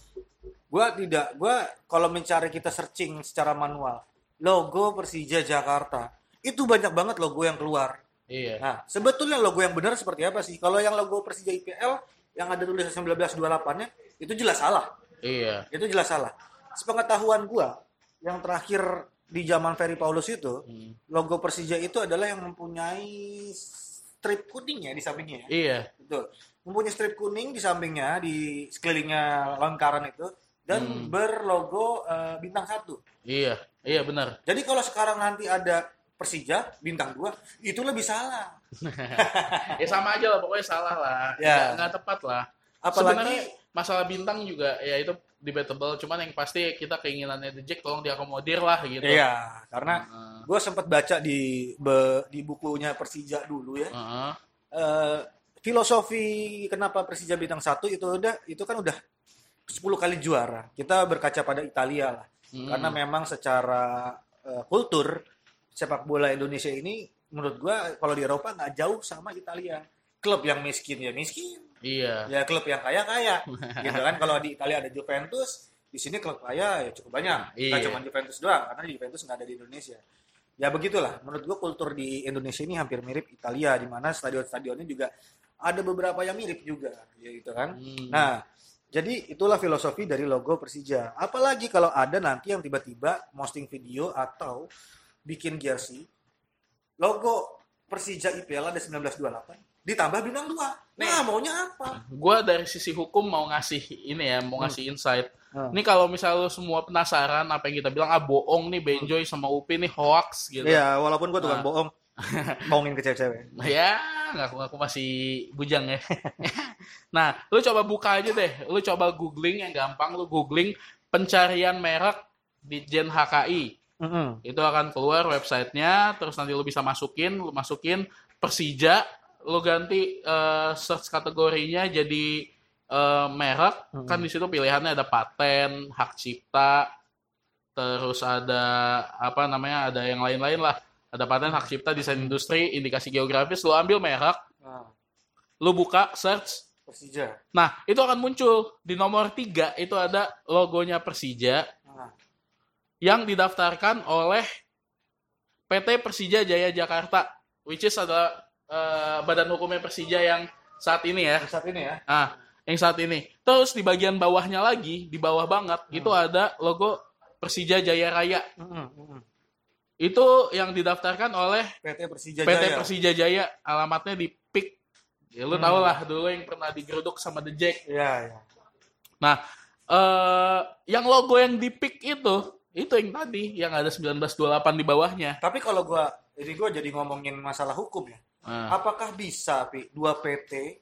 A: Gua tidak, gua kalau mencari kita searching secara manual, logo Persija Jakarta itu banyak banget logo yang keluar.
B: Iya.
A: Nah, sebetulnya logo yang benar seperti apa sih? Kalau yang logo Persija IPL yang ada tulisan 1928-nya itu jelas salah.
B: Iya.
A: Itu jelas salah. Sepengetahuan gua yang terakhir di zaman Ferry Paulus itu,
B: Hmm.
A: logo Persija itu adalah yang mempunyai strip kuning ya di sampingnya. ya?
B: Iya.
A: Betul. Mempunyai strip kuning di sampingnya, di sekelilingnya lingkaran itu, dan
B: Hmm.
A: berlogo eh, bintang satu.
B: Iya. Iya benar.
A: Jadi kalau sekarang nanti ada Persija bintang dua, itu lebih salah.
B: ya sama aja lah pokoknya salah lah. Nggak,
A: Ya.
B: nggak tepat lah. Sebenarnya
A: Apalagi
B: masalah bintang juga ya itu debatable cuman yang pasti kita keinginannya The Jack tolong diakomodir lah gitu.
A: iya, karena
B: Heeh.
A: gue sempat baca di be- di bukunya Persija dulu ya.
B: Heeh.
A: Eh, filosofi kenapa Persija bintang satu itu udah itu kan udah 10 kali juara. Kita berkaca pada Italia lah.
B: Hmm.
A: karena memang secara eh, kultur sepak bola Indonesia ini menurut gua kalau di Eropa nggak jauh sama Italia klub yang miskin ya miskin
B: Iya.
A: ya klub yang kaya kaya gitu kan kalau di Italia ada Juventus di sini klub kaya ya cukup banyak nggak
B: Iya.
A: cuma Juventus doang karena Juventus nggak ada di Indonesia ya begitulah menurut gua kultur di Indonesia ini hampir mirip Italia di mana stadion-stadionnya juga ada beberapa yang mirip juga ya gitu kan
B: Hmm.
A: Nah, jadi itulah filosofi dari logo Persija. Apalagi kalau ada nanti yang tiba-tiba posting video atau bikin jersey logo Persija IPL ada 1928 ditambah bintang 2. Nah, maunya apa?
B: Gua dari sisi hukum mau ngasih ini ya, mau ngasih insight.
A: Hmm.
B: Ini kalau misal lu semua penasaran apa yang kita bilang ah bohong nih Benjoy sama Upi nih hoax
A: Hmm.
B: gitu.
A: Iya, walaupun gue tukang
B: Nah.
A: bohong. Bohongin ke cewek-cewek.
B: Nah, Ya, ngaku ngaku masih bujang ya. nah, lu coba buka aja deh. Lu coba googling yang gampang lu googling pencarian merek di Jen HKI.
A: Mm-mm.
B: Itu akan keluar websitenya, terus nanti lu bisa masukin, lu masukin Persija, lu ganti eh, search kategorinya jadi eh, merek,
A: Hmm.
B: kan di situ pilihannya ada paten, hak cipta, terus ada apa namanya, ada yang lain-lain lah. Ada paten, hak cipta, desain industri, indikasi geografis, lu ambil merek,
A: Nah,
B: lu buka search.
A: Persija.
B: Nah, itu akan muncul di nomor tiga itu ada logonya Persija,
A: Nah,
B: yang didaftarkan oleh PT Persija Jaya Jakarta, which is adalah eh, badan hukumnya Persija yang saat ini ya.
A: saat ini ya.
B: Ah, yang saat ini. Terus di bagian bawahnya lagi, di bawah banget,
A: Hmm.
B: itu ada logo Persija Jaya Raya.
A: Mm-mm, mm-mm.
B: Itu yang didaftarkan oleh
A: PT Persija
B: PT
A: Jaya.
B: Persija Jaya, alamatnya di PIK. Ya, lu
A: Hmm.
B: tau lah dulu yang pernah digeruduk sama The Jack.
A: Iya, iya.
B: Nah, eh yang logo yang di PIK itu, itu yang tadi, yang ada 1928 di bawahnya.
A: Tapi kalau gua jadi gua jadi ngomongin masalah hukum ya.
B: Nah. hmm.
A: Apakah bisa, Pi, dua PT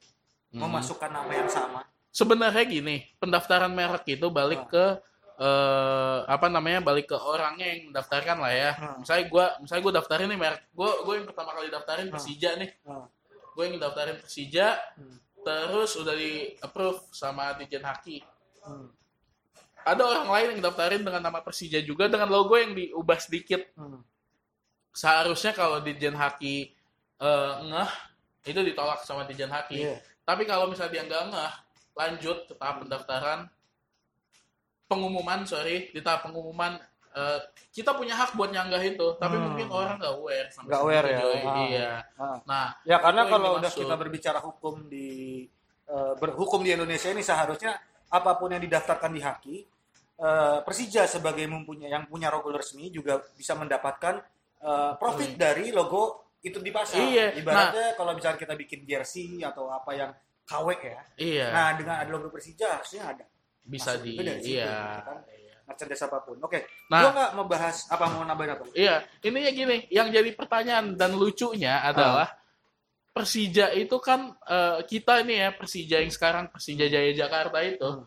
A: memasukkan nama yang sama?
B: sebenarnya gini pendaftaran merek itu
A: Ah.
B: balik ke eh, apa namanya balik ke orangnya yang mendaftarkan lah ya
A: Hmm.
B: misalnya gue misalnya gue daftarin nih merek gue gue yang pertama kali daftarin
A: Hmm.
B: Persija nih
A: Hmm.
B: gue yang daftarin Persija
A: Hmm.
B: terus udah di approve sama Dijen Haki
A: Hmm.
B: ada orang lain yang daftarin dengan nama Persija juga dengan logo yang diubah sedikit
A: Hmm.
B: seharusnya kalau Dijen Haki eh, ngeh itu ditolak sama Dijen Haki
A: Iya.
B: Tapi kalau misalnya dia nggak ngeh, lanjut ke tahap pendaftaran, pengumuman, sorry, di tahap pengumuman, eh, kita punya hak buat nyanggah itu, tapi
A: Hmm.
B: mungkin orang nggak aware. sama
A: Nggak
B: situ,
A: aware ya.
B: Joy.
A: Ah.
B: Iya.
A: Ah.
B: Nah,
A: Ya karena
B: Itu yang
A: kalau udah
B: dimaksud.
A: kita berbicara hukum di eh, berhukum di Indonesia ini seharusnya apapun yang didaftarkan di Haki eh, Persija sebagai mempunyai yang punya logo resmi juga bisa mendapatkan eh, profit dari logo itu di pasar.
B: Hmm. Iya.
A: Ibaratnya kalau misalnya kita bikin jersey atau apa yang KW ya.
B: iya.
A: Nah, dengan ada logo Persija harusnya ada
B: bisa
A: maksud
B: di,
A: gue dari situ,
B: iya.
A: gitu kan. merchandise apapun. Oke.
B: Nah.
A: Gua nggak membahas apa mau nambahin apa.
B: Iya, ininya gini, yang jadi pertanyaan dan lucunya adalah
A: Ah.
B: Persija itu kan eh, kita ini ya Persija yang sekarang Persija Jaya Jakarta itu
A: Hmm.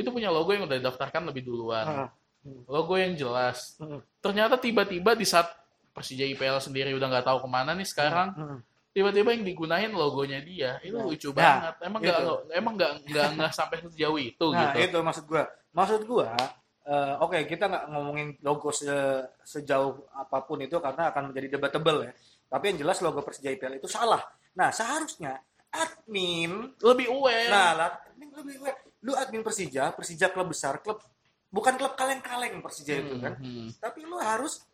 B: itu punya logo yang udah didaftarkan lebih
A: Ah.
B: duluan.
A: Hmm.
B: Logo yang jelas.
A: Hmm.
B: Ternyata tiba-tiba di saat Persija IPL sendiri udah nggak tahu kemana nih sekarang,
A: Hmm.
B: tiba-tiba yang digunain logonya dia, itu
A: Nah.
B: lucu
A: Nah,
B: banget. Emang nggak
A: itu.
B: emang nggak nggak nggak sampai sejauh itu
A: Nah,
B: gitu.
A: itu maksud gua. Maksud gua eh, oke kita nggak ngomongin logo se- sejauh apapun itu karena akan menjadi debatable ya. Tapi yang jelas logo Persija IPL itu salah. Nah seharusnya admin,
B: Lebih aware.
A: nah lah- ini lebih gue, lu admin Persija, Persija klub besar, klub bukan klub kaleng-kaleng Persija itu kan.
B: Hmm.
A: Tapi lu harus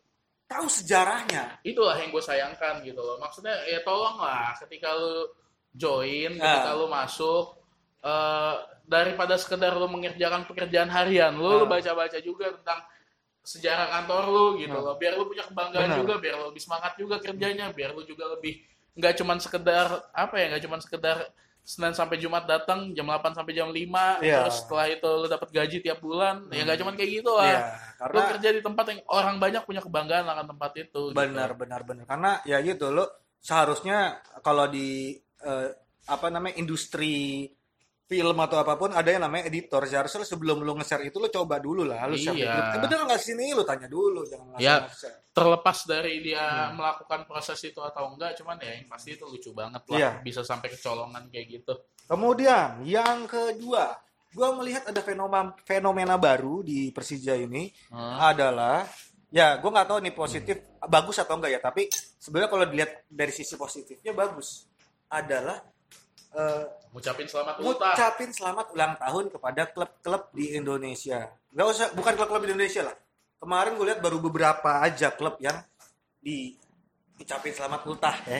A: tahu sejarahnya.
B: itulah yang gue sayangkan gitu loh maksudnya ya tolonglah ketika lu join
A: Ah.
B: ketika lu masuk eh, daripada sekedar lu mengerjakan pekerjaan harian lu lu
A: Ah.
B: baca-baca juga tentang sejarah kantor lu gitu
A: Ah.
B: loh biar lu punya kebanggaan
A: Benar.
B: juga biar lu lebih semangat juga kerjanya biar lu juga lebih nggak cuman sekedar apa ya nggak cuman sekedar Senin sampai Jumat datang jam 8 sampai jam 5
A: Iya. Hmm.
B: terus setelah itu lu dapat gaji tiap bulan ya nggak cuman kayak gitu lah
A: Iya,
B: lu kerja di tempat yang orang banyak punya kebanggaan akan tempat itu gitu.
A: benar benar benar karena ya gitu lo seharusnya kalau di eh, apa namanya industri film atau apapun ada yang namanya editor seharusnya lo sebelum lo nge-share itu lo coba dulu lah lo share
B: Iya.
A: dulu. bener nggak sini lo tanya dulu jangan langsung
B: Ya.
A: nge-share.
B: terlepas dari dia
A: Hmm.
B: melakukan proses itu atau enggak cuman ya yang pasti itu lucu banget lah
A: Iya.
B: bisa sampai kecolongan kayak gitu
A: kemudian yang kedua gua melihat ada fenomena fenomena baru di Persija ini
B: Hmm.
A: adalah ya gue nggak tahu nih positif bagus atau enggak ya tapi sebenarnya kalau dilihat dari sisi positifnya bagus adalah eh,
B: ngucapin selamat ulang
A: ngucapin selamat ulang tahun kepada klub-klub di Indonesia. Gak usah, bukan klub-klub di Indonesia lah. Kemarin gue lihat baru beberapa aja klub yang di ucapin selamat ultah ya.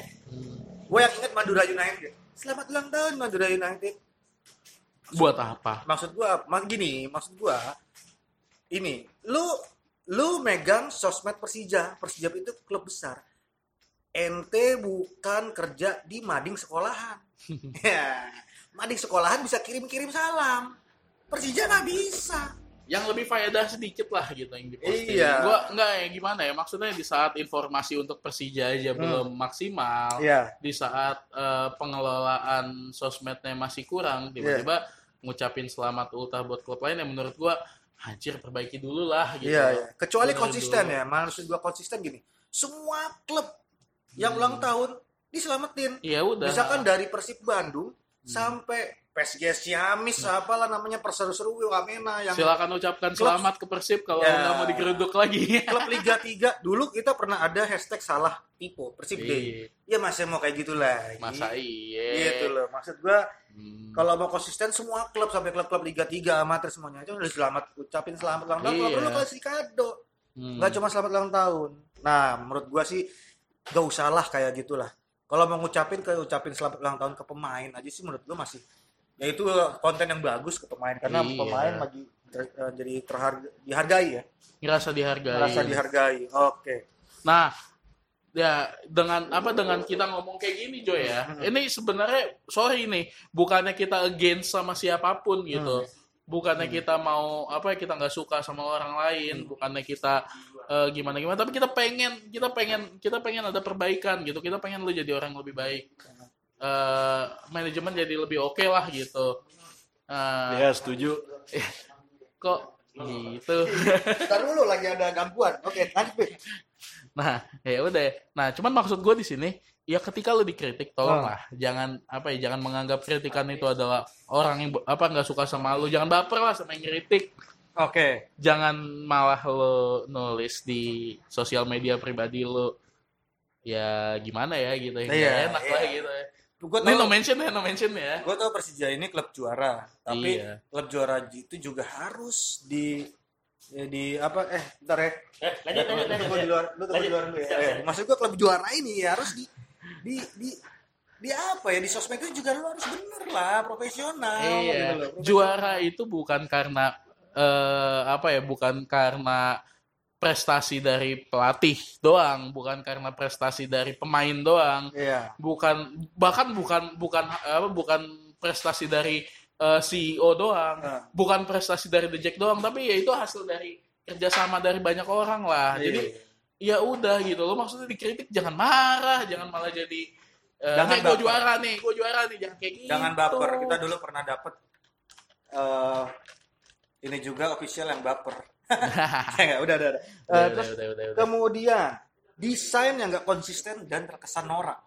A: Gue yang ingat Madura United. Selamat ulang tahun Madura United.
B: buat apa
A: Maksud gue, mak gini, maksud gue ini, lu lu megang sosmed Persija. Persija itu klub besar. Ente bukan kerja di mading sekolahan. Ya, mading sekolahan bisa kirim-kirim salam. Persija nggak bisa.
B: yang lebih faedah sedikit lah gitu yang diposting
A: Iya.
B: gua enggak ya gimana ya maksudnya di saat informasi untuk Persija aja
A: Hmm.
B: belum maksimal
A: Iya.
B: di saat eh, pengelolaan sosmednya masih
A: Iya.
B: kurang tiba-tiba ngucapin selamat ultah buat klub lain yang menurut gua hancur perbaiki dulu lah gitu
A: Iya, iya. Kecuali
B: Bener
A: konsisten
B: dulu.
A: ya. Maksud gua konsisten gini. Semua klub yang ulang tahun diselamatin.
B: ya udah Hmm.
A: Misalkan dari Persib Bandung sampai PSG Ciamis apalah namanya perseru-seru Wamena yang
B: silakan ucapkan
A: Klub-
B: selamat ke Persib kalau
A: Ya.
B: nggak mau digeruduk lagi.
A: klub Liga 3 dulu kita pernah ada hashtag salah tipu Persib Day.
B: Iya,
A: Ya masih mau kayak gitu lagi.
B: Masa iya.
A: Gitu loh. Maksud gua
B: Hmm.
A: kalau mau konsisten semua klub sampai klub-klub Liga 3 amatir semuanya itu udah selamat ucapin selamat ulang tahun. Kalau
B: Iya.
A: perlu kasih kado.
B: Hmm.
A: nggak cuma selamat ulang tahun. Nah, menurut gua sih gak usahlah kayak gitulah. Kalau mau ngucapin ke ucapin selamat ulang tahun ke pemain aja sih menurut gua masih ya itu konten yang bagus ke pemain karena
B: Iya.
A: pemain lagi ter- eh, jadi terharga dihargai ya,
B: ngerasa dihargai.
A: merasa dihargai. Oke.
B: Nah, ya dengan apa dengan kita ngomong kayak gini Joy ya. Ini sebenarnya sorry nih, bukannya kita against sama siapapun gitu. Bukannya kita mau apa ya kita nggak suka sama orang lain, bukannya kita gimana gimana, tapi kita pengen kita pengen kita pengen ada perbaikan gitu. Kita pengen lu jadi orang yang lebih baik. Eh, manajemen jadi lebih oke lah gitu. Eh,
D: Ya setuju.
B: kok gitu.
A: Ntar dulu lagi ada gangguan. Oke, lanjut. Bi.
B: Nah, ya udah. Nah, cuman maksud gue di sini, ya ketika lu dikritik,
A: Ah.
B: tolonglah jangan apa ya, jangan menganggap kritikan itu adalah orang yang apa nggak suka sama lu. Jangan baper lah sama yang kritik.
A: Oke.
B: Jangan malah lu nulis di sosial media pribadi lu. Ya gimana ya gitu. Ya, nggak
A: Iya,
B: enak
A: iya.
B: lah gitu. ya.
A: Gua
B: Ini
A: tahu
B: no mention ya, no mention ya.
A: gua tahu Persija ini klub juara, tapi
B: Iya.
A: klub juara itu juga harus di ya, di apa eh bentar ya
E: lanjut, lanjut,
A: Lu
E: lanjut.
A: tunggu di luar, lu tunggu di luar dulu ya. Eh, maksud gua klub juara ini ya harus di di di di apa ya di sosmed itu juga lu harus bener lah profesional
B: Iya.
A: gitu loh.
B: Juara itu bukan karena eh apa ya, bukan karena prestasi dari pelatih doang, bukan karena prestasi dari pemain doang,
A: Iya.
B: bukan bahkan bukan bukan apa bukan prestasi dari eh, CEO doang,
A: Nah.
B: bukan prestasi dari The Jack doang, tapi ya itu hasil dari kerjasama dari banyak orang lah. Jadi
A: Iya.
B: ya udah gitu lo maksudnya dikritik jangan marah, jangan malah jadi eh,
A: Jangan
B: nih gue
A: baper.
B: juara nih, gue juara nih, jangan kayak gitu.
A: jangan baper. Kita dulu pernah dapet eh ini juga official yang baper. Enggak, udah udah. udah. Eh,
B: Udah,
A: terus
B: udah, udah, udah, udah.
A: kemudian desain yang gak konsisten dan terkesan norak.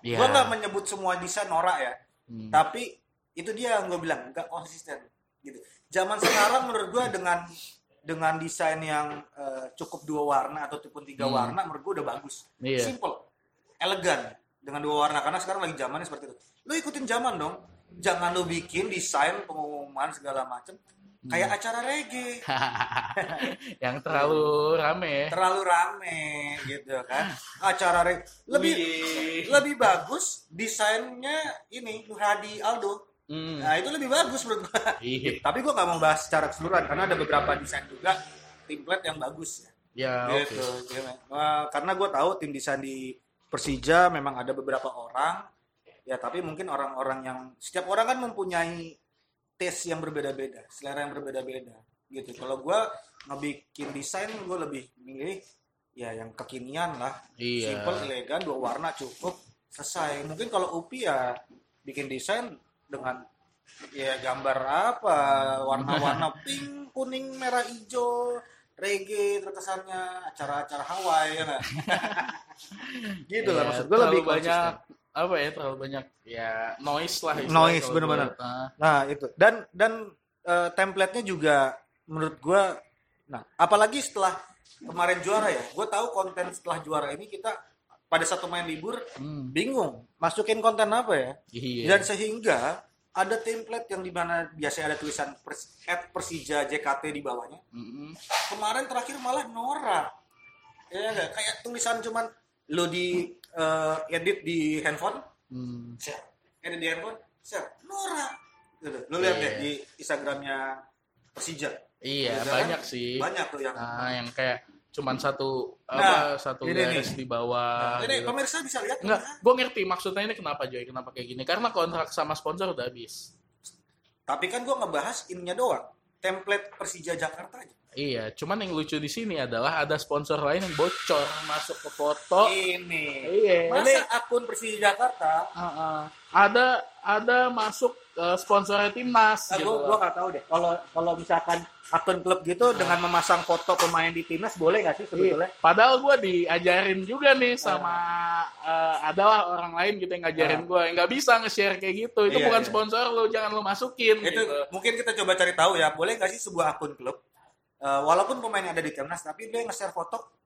B: Iya.
A: Gua nggak menyebut semua desain norak ya.
B: Hmm.
A: tapi itu dia yang gue bilang nggak konsisten gitu zaman sekarang menurut gue dengan dengan desain yang eh, cukup dua warna ataupun tiga
B: Hmm.
A: warna menurut gue udah bagus.
B: Iya.
A: Simple, elegan dengan dua warna karena sekarang lagi zamannya seperti itu. Lo ikutin zaman dong. Jangan lo bikin desain pengumuman segala macem
B: Hmm.
A: kayak acara reggae
B: yang terlalu rame ya.
A: terlalu rame gitu kan acara reggae lebih
B: Wih.
A: lebih bagus desainnya ini Nur Hadi Aldo
B: Hmm.
A: nah itu lebih bagus menurut gue
B: Iya.
A: tapi gue nggak mau bahas secara keseluruhan karena ada beberapa desain juga template yang bagus ya
B: Ya, oke.
A: gitu Iya, Mek. Wah, karena gue tahu tim desain di Persija memang ada beberapa orang ya tapi mungkin orang-orang yang setiap orang kan mempunyai taste yang berbeda-beda selera yang berbeda-beda gitu kalau gue ngebikin desain gue lebih milih ya yang kekinian lah
B: Iya.
A: simple elegan dua warna cukup selesai mungkin kalau upi ya bikin desain dengan ya gambar apa warna-warna pink kuning merah hijau reggae terkesannya acara-acara Hawaii ya nggak? gitu lah
B: Iya,
A: maksud gue lebih
B: terlalu banyak
A: konsisten.
B: apa ya terlalu banyak ya noise lah istilahnya
A: Noise,
B: kalau
A: bener-bener.
B: buat, nah,
A: nah itu dan dan eh, template-nya juga menurut gue nah apalagi setelah kemarin juara ya gue tahu konten setelah juara ini kita pada satu main libur
B: hmm,
A: bingung masukin konten apa ya
B: iya
A: Dan sehingga ada template yang dimana biasanya ada tulisan pers at Persija JKT di bawahnya.
B: Mm-mm.
A: Kemarin terakhir malah Nora. Ya nggak? kayak tulisan cuman lo di eh, edit di handphone,
B: Hmm.
A: share. Edit di handphone, share. Nora. Gitu. Lo lihat
B: Iya.
A: deh di Instagramnya Persija. Gitu
B: iya
A: kan?
B: banyak sih
A: Banyak tuh yang.
B: nah yang kayak cuman satu
A: Nah,
B: apa satu
A: ini
B: garis
A: nih.
B: di bawah
A: Nah, Ini
B: gitu.
A: pemirsa bisa lihat
B: Enggak,
A: kan?
B: gue ngerti maksudnya ini kenapa Joy, kenapa kayak gini. Karena kontrak sama sponsor udah habis.
A: Tapi kan gua ngebahas ininya doang. Template Persija Jakarta aja.
B: Iya, cuman yang lucu di sini adalah ada sponsor lain yang bocor masuk ke foto.
A: Ini.
B: Iya, Oh. ini
A: Masa akun Persija Jakarta
B: Ah, ah. ada ada masuk eh, sponsornya timnas
A: Nah,
B: gitu.
A: gue
B: loh.
A: gak tahu deh. Kalau kalau misalkan akun klub gitu dengan memasang foto pemain di timnas boleh nggak sih sebetulnya?
B: Iya. Padahal gue diajarin juga nih sama eh, adalah orang lain gitu yang ngajarin gue nggak bisa nge-share kayak gitu.
A: Ah.
B: Itu
A: Iya,
B: bukan
A: iya.
B: sponsor lo, jangan lo masukin.
A: Itu
B: gitu.
A: mungkin kita coba cari tahu ya. Boleh nggak sih sebuah akun klub eh, walaupun pemainnya ada di timnas tapi dia nge-share foto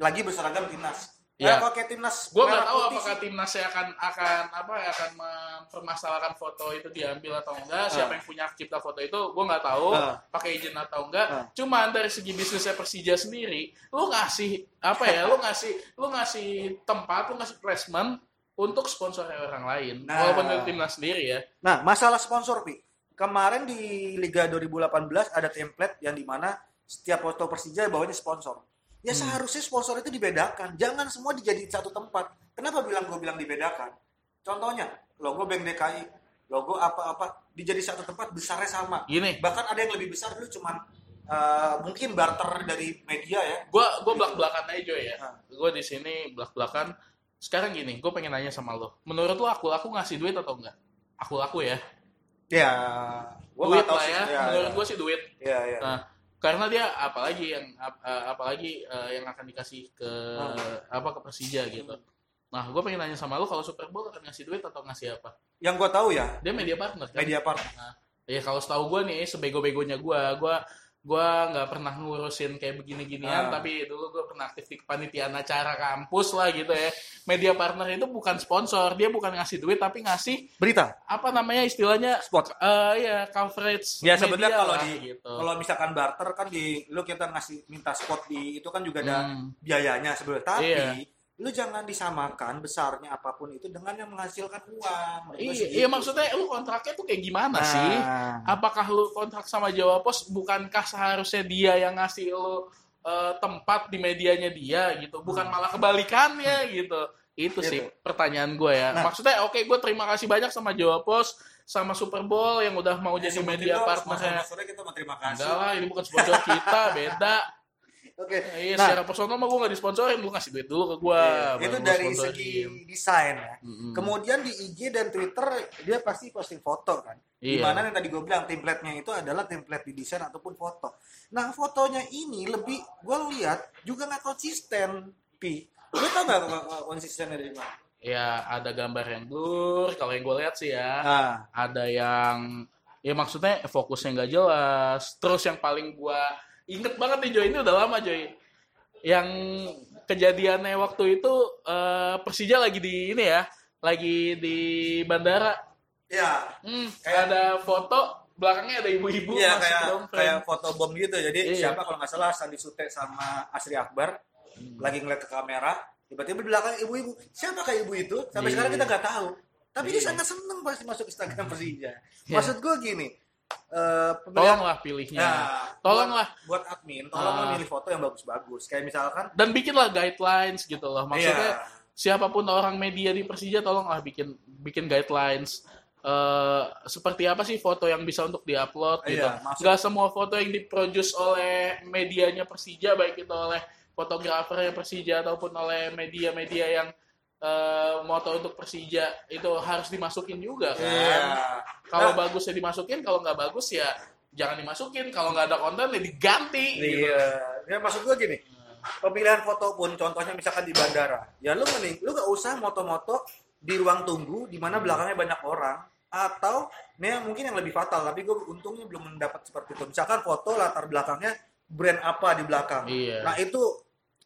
A: lagi berseragam timnas.
B: Iya.
A: Ya, pakai timnas.
B: Gue nggak
A: merah
B: tahu
A: putih
B: apakah
A: sih.
B: timnasnya akan akan apa ya akan mempermasalahkan foto itu diambil atau enggak. Siapa
A: Ah.
B: yang punya hak cipta foto itu gue nggak tahu.
A: Ah.
B: Pakai izin atau enggak.
A: Ah.
B: Cuman dari segi bisnisnya Persija sendiri, lu ngasih apa ya? Lu ngasih lu ngasih tempat, lu ngasih placement untuk sponsornya orang lain.
A: Nah.
B: Walaupun dari timnas sendiri ya.
A: Nah, masalah sponsor Pi. Kemarin di Liga 2018 ada template yang dimana setiap foto Persija bawahnya sponsor. Ya
B: Hmm.
A: seharusnya sponsor itu dibedakan. Jangan semua dijadiin satu tempat. Kenapa bilang gue bilang dibedakan? Contohnya logo Bank DKI, logo apa-apa dijadi satu tempat besarnya sama.
B: Gini,
A: Bahkan ada yang lebih besar dulu cuman eh, mungkin barter dari media ya.
B: gue gue belak belakan aja Joy, ya.
A: Ah.
B: Gue di sini belak belakan. Sekarang gini, gue pengen nanya sama lo. Menurut lo aku aku ngasih duit atau enggak? Aku aku ya.
A: Ya, gue
B: duit
A: nggak tahu
B: lah
A: sih.
B: ya.
A: Ya,
B: Menurut
A: ya.
B: gue sih duit.
A: Ya, ya.
B: Nah, karena dia apalagi yang ap- eh, apalagi eh, yang akan dikasih ke
A: Ah.
B: apa ke Persija gitu. Nah, gue pengen nanya sama lu kalau Super Bowl akan ngasih duit atau ngasih apa?
A: Yang gue tahu ya
B: Dia media partner kan?
A: media partner.
B: Nah, ya kalau setahu gue nih sebego-begonya gue, gue gue nggak pernah ngurusin kayak
A: Ah.
B: begini-ginian, tapi dulu gue pernah aktif di kepanitiaan acara kampus lah gitu ya. Media partner itu bukan sponsor, dia bukan ngasih duit tapi ngasih
A: Berita
B: apa namanya istilahnya
A: spot.
B: eh ya coverage
A: Ya
B: media
A: sebenarnya kalau
B: lah,
A: di
B: gitu.
A: kalau misalkan barter kan di lu kita ngasih minta spot di itu kan juga ada
B: Hmm.
A: biayanya sebenarnya. Tapi
B: Iya.
A: lu jangan disamakan besarnya apapun itu dengan yang menghasilkan uang. Menurut gua
B: Iya,
A: sih
B: iya
A: gitu.
B: maksudnya lu kontraknya tuh kayak
A: Nah,
B: gimana sih? Apakah lu kontrak sama Jawa Pos bukankah seharusnya dia yang ngasih lu eh, tempat di medianya dia gitu, bukan
A: Hmm.
B: malah kebalikannya gitu. Itu sih
A: Gitu.
B: pertanyaan gue ya.
A: Nah.
B: maksudnya oke gue terima kasih banyak sama Jawa Pos sama Super Bowl yang udah mau jadi
A: seperti
B: media
A: itu,
B: partnernya.
A: sponsor-sponsornya kita mau terima kasih.
B: Enggak lah, ini bukan sponsor kita, beda.
A: Oke.
B: Iya,
A: Nah. Iya.
B: secara personal mah gue gak disponsorin, lu ngasih duit dulu ke gue.
A: itu dari segi desain ya.
B: Hmm.
A: Kemudian di IG dan Twitter dia pasti posting foto kan.
B: Iya.
A: Dimana yang tadi gue bilang template-nya itu adalah template di desain ataupun foto. Nah fotonya ini lebih gue lihat juga nggak konsisten. Pi, lu tau nggak nggak- nggak konsistennya dari mana?
B: Ya ada gambar yang blur, kalau yang gue lihat sih ya.
A: Nah,
B: ada yang ya maksudnya fokusnya nggak jelas terus yang paling gua Ingat banget nih Joy, ini udah lama Joy. Yang kejadiannya waktu itu eh, Persija lagi di ini ya, lagi di bandara.
A: Iya.
B: Hmm,
A: Kayak-
B: ada foto belakangnya ada ibu-ibu
A: Iya
B: masuk
A: kayak
B: dong, friend.
A: kayak foto bom gitu. Jadi
B: Iya.
A: siapa kalau nggak salah Sandi Sute sama Asri Akbar
B: Hmm.
A: lagi ngeliat ke kamera, tiba-tiba di belakang ibu-ibu. Siapa kayak ibu itu? Sampai
B: Iya.
A: sekarang kita nggak tahu. Tapi dia
B: Iya.
A: sangat seneng pasti masuk Instagram Persija.
B: Iya.
A: Maksud gue gini, eh pembelian-
B: Tolonglah pilihnya.
A: Nah,
B: Tolonglah
A: buat, buat admin, tolonglah
B: iya. Ah.
A: milih foto yang bagus-bagus. Kayak misalkan
B: dan bikinlah guidelines gitu loh. Maksudnya
A: Iya.
B: siapapun orang media di Persija tolonglah bikin bikin guidelines Eh, seperti apa sih foto yang bisa untuk diupload gitu.
A: Iya, maksud-
B: Nggak semua foto yang diproduce oleh medianya Persija baik itu oleh fotografernya Persija ataupun oleh media-media yang eh, moto untuk Persija itu harus dimasukin juga kan.
A: Iya.
B: Kalau
A: Nah,
B: bagusnya dimasukin, kalau nggak bagus ya jangan dimasukin. Kalau nggak ada konten ya diganti gitu.
A: Iya. Ya maksud gue gini, pemilihan foto pun contohnya misalkan di bandara. Ya lu mending lu gak usah moto-moto di ruang tunggu di mana belakangnya banyak orang atau nih yang mungkin yang lebih fatal tapi gue untungnya belum mendapat seperti itu misalkan foto latar belakangnya brand apa di belakang
B: Iya.
A: nah itu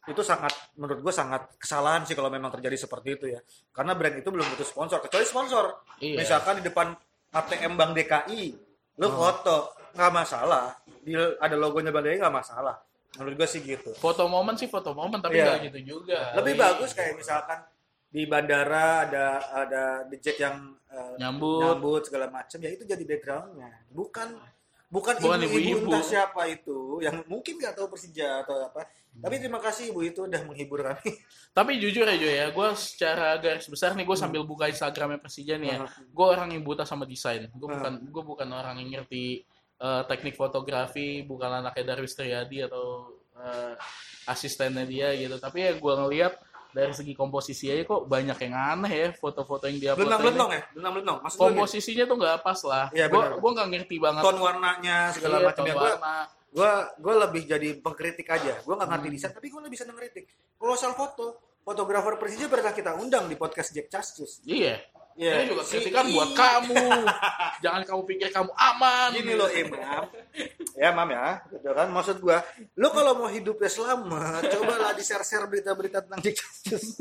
A: itu sangat menurut gue sangat kesalahan sih kalau memang terjadi seperti itu ya karena brand itu belum butuh sponsor kecuali sponsor
B: Iya. Oh.
A: misalkan di depan ATM Bank DKI lu foto nggak masalah di, ada logonya Bank DKI nggak masalah menurut gue sih gitu
B: Foto momen sih foto momen, tapi
A: Iya.
B: nggak gitu juga.
A: lebih
B: Iya.
A: bagus kayak misalkan di bandara ada ada the jet yang eh,
B: Nyambut.
A: segala macam ya itu jadi backgroundnya bukan bukan
B: Bukan
A: ibu-ibu
B: ibu-ibu.
A: entah siapa itu yang mungkin nggak tahu Persija atau apa tapi terima kasih ibu itu udah menghibur kami
B: Tapi jujur aja ya, gue secara garis besar nih, gue sambil buka Instagramnya Persija nih ya,
A: Hmm.
B: gue orang yang buta sama desain. Gue
A: Hmm.
B: bukan gue bukan orang yang ngerti eh, teknik fotografi, bukan anaknya Darwis Triadi atau eh, asistennya dia gitu. Tapi ya gue ngeliat dari segi komposisi aja kok banyak yang aneh ya foto-foto yang dia
A: belentang
B: upload ini.
A: belentang ya belentang belentang maksud gue gini,
B: Komposisinya tuh nggak pas lah.
A: Iya,
B: gue
A: benar.
B: gue nggak ngerti banget.
A: ton warnanya segala
B: Iya,
A: macam
B: tone
A: ya gue
B: warna.
A: gua gua lebih jadi pengkritik aja gua nggak ngerti desain tapi gua lebih seneng ngeritik kalau soal foto fotografer Persija pernah kita undang di podcast Jack Castus
B: Iya.
A: Iya.
B: Ini juga
A: Si-
B: kritikan buat kamu. Jangan kamu pikir kamu aman.
A: gini loh Im Am. ya mam ya gitu kan maksud gua lo kalau mau hidupnya selamat cobalah di share share berita berita tentang Jack Castus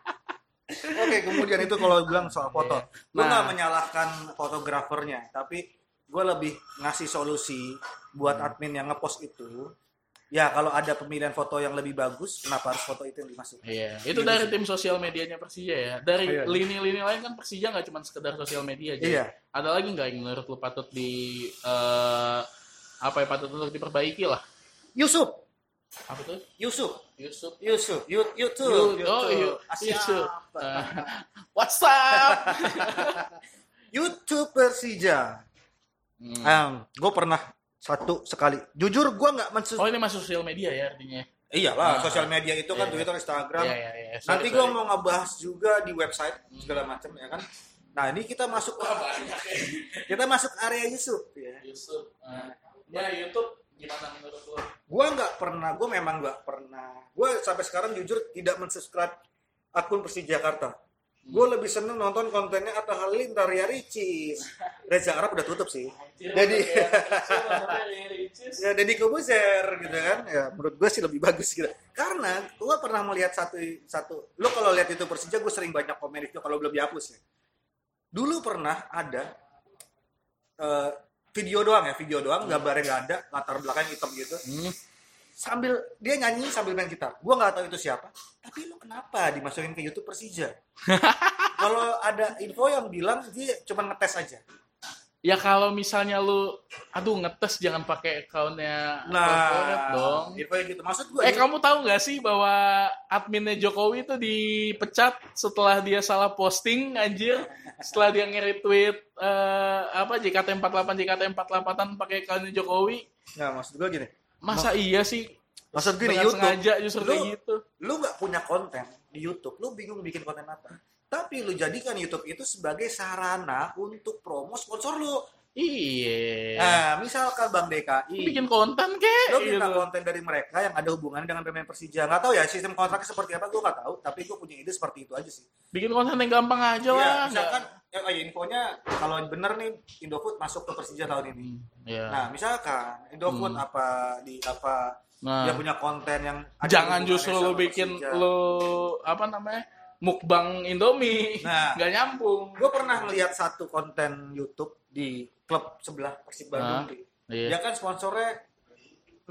A: oke kemudian itu kalau bilang soal foto gua
B: Nah.
A: nggak menyalahkan fotografernya tapi gua lebih ngasih solusi buat
B: Hmm.
A: admin yang ngepost itu ya kalau ada pemilihan foto yang lebih bagus kenapa harus foto itu yang dimasukkan
B: Iya, itu dari tim sosial medianya Persija ya. Dari
A: Iya.
B: lini-lini lain kan Persija nggak cuma sekedar sosial media aja.
A: Iya.
B: Ada lagi nggak yang menurut lu patut di eh, apa yang patut untuk diperbaiki lah?
A: Yusuf
B: Apa tuh?
A: Yusuf
B: Yusuf.
A: Yusuf Yu- Yusuf
B: Yu- oh, Yu-
A: Asyik.
B: Yusuf. Eh, what's up?
A: YouTube Persija
B: Hmm.
A: gue pernah satu sekali. Jujur gue nggak mensus.
B: Oh ini masuk sosial media ya artinya.
A: Iyalah,
B: Ah.
A: iya sosial media itu kan
B: Iya.
A: Twitter, Instagram.
B: Iya iya iya. Sorry,
A: Nanti gue
B: sorry. Hmm.
A: mau ngebahas juga di website segala macam ya kan. Nah ini kita masuk ke
B: banyak ya.
A: kita masuk area Yusuf. Ya.
B: Yusuf. Eh, ya YouTube gimana menurut lu?
A: Gue nggak pernah, gue memang nggak pernah. Gue sampai sekarang jujur tidak mensubscribe akun Persija Jakarta. Gue
B: Hmm.
A: lebih seneng nonton kontennya Atta Halilintar, Ria Ricis. Reza Arab udah tutup sih. Jadi ya Deddy Kobuzer gitu kan ya menurut gue sih lebih bagus gitu karena gue pernah melihat satu satu lo kalau lihat itu Persija gue sering banyak komen itu kalau belum dihapus ya dulu pernah ada eh, video doang ya video doang gambarnya nggak ada latar belakang hitam gitu
B: Hmm.
A: sambil dia nyanyi sambil main gitar gue nggak tahu itu siapa tapi lo kenapa dimasukin ke YouTube Persija kalau ada info yang bilang dia cuma ngetes aja
B: Ya kalau misalnya lu, aduh ngetes jangan pakai accountnya corporate dong.
A: nah info yang gitu maksud gue
B: Eh kamu tahu nggak sih bahwa adminnya Jokowi itu dipecat setelah dia salah posting anjir, setelah dia nge-retweet eh, apa JKT48 JKT48an pakai accountnya Jokowi.
A: nggak Nah, maksud gue gini
B: Masa iya sih?
A: maksud gue
B: Dengan
A: di YouTube
B: sengaja justru kayak
A: Lu-
B: gitu.
A: lu nggak punya konten di YouTube, lu bingung bikin konten apa. Tapi lu jadikan YouTube itu sebagai sarana untuk promo sponsor lu.
B: Iya.
A: Nah, misalkan Bank DKI,
B: Bikin konten kek.
A: lo minta
B: gitu.
A: konten dari mereka yang ada hubungannya dengan pemain Persija. Nggak tahu ya sistem kontraknya seperti apa, gue nggak tahu. Tapi gue punya ide seperti itu aja sih.
B: Bikin konten yang gampang aja lah.
A: Iya,
B: nggak-
A: misalkan eh, oh ya, infonya kalau bener nih Indofood masuk ke Persija tahun ini.
B: Hmm, Iya.
A: Nah, misalkan Indofood
B: Hmm.
A: apa di apa
B: Nah,
A: dia punya konten yang ada
B: jangan
A: hubungannya
B: justru
A: sama
B: lo bikin
A: Persija.
B: lo apa namanya? mukbang Indomie.
A: Nah.
B: nggak nyambung.
A: Gue pernah ngelihat satu konten YouTube di klub sebelah Persib Bandung.
B: Ah,
A: Ri.
B: Iya.
A: Dia kan sponsornya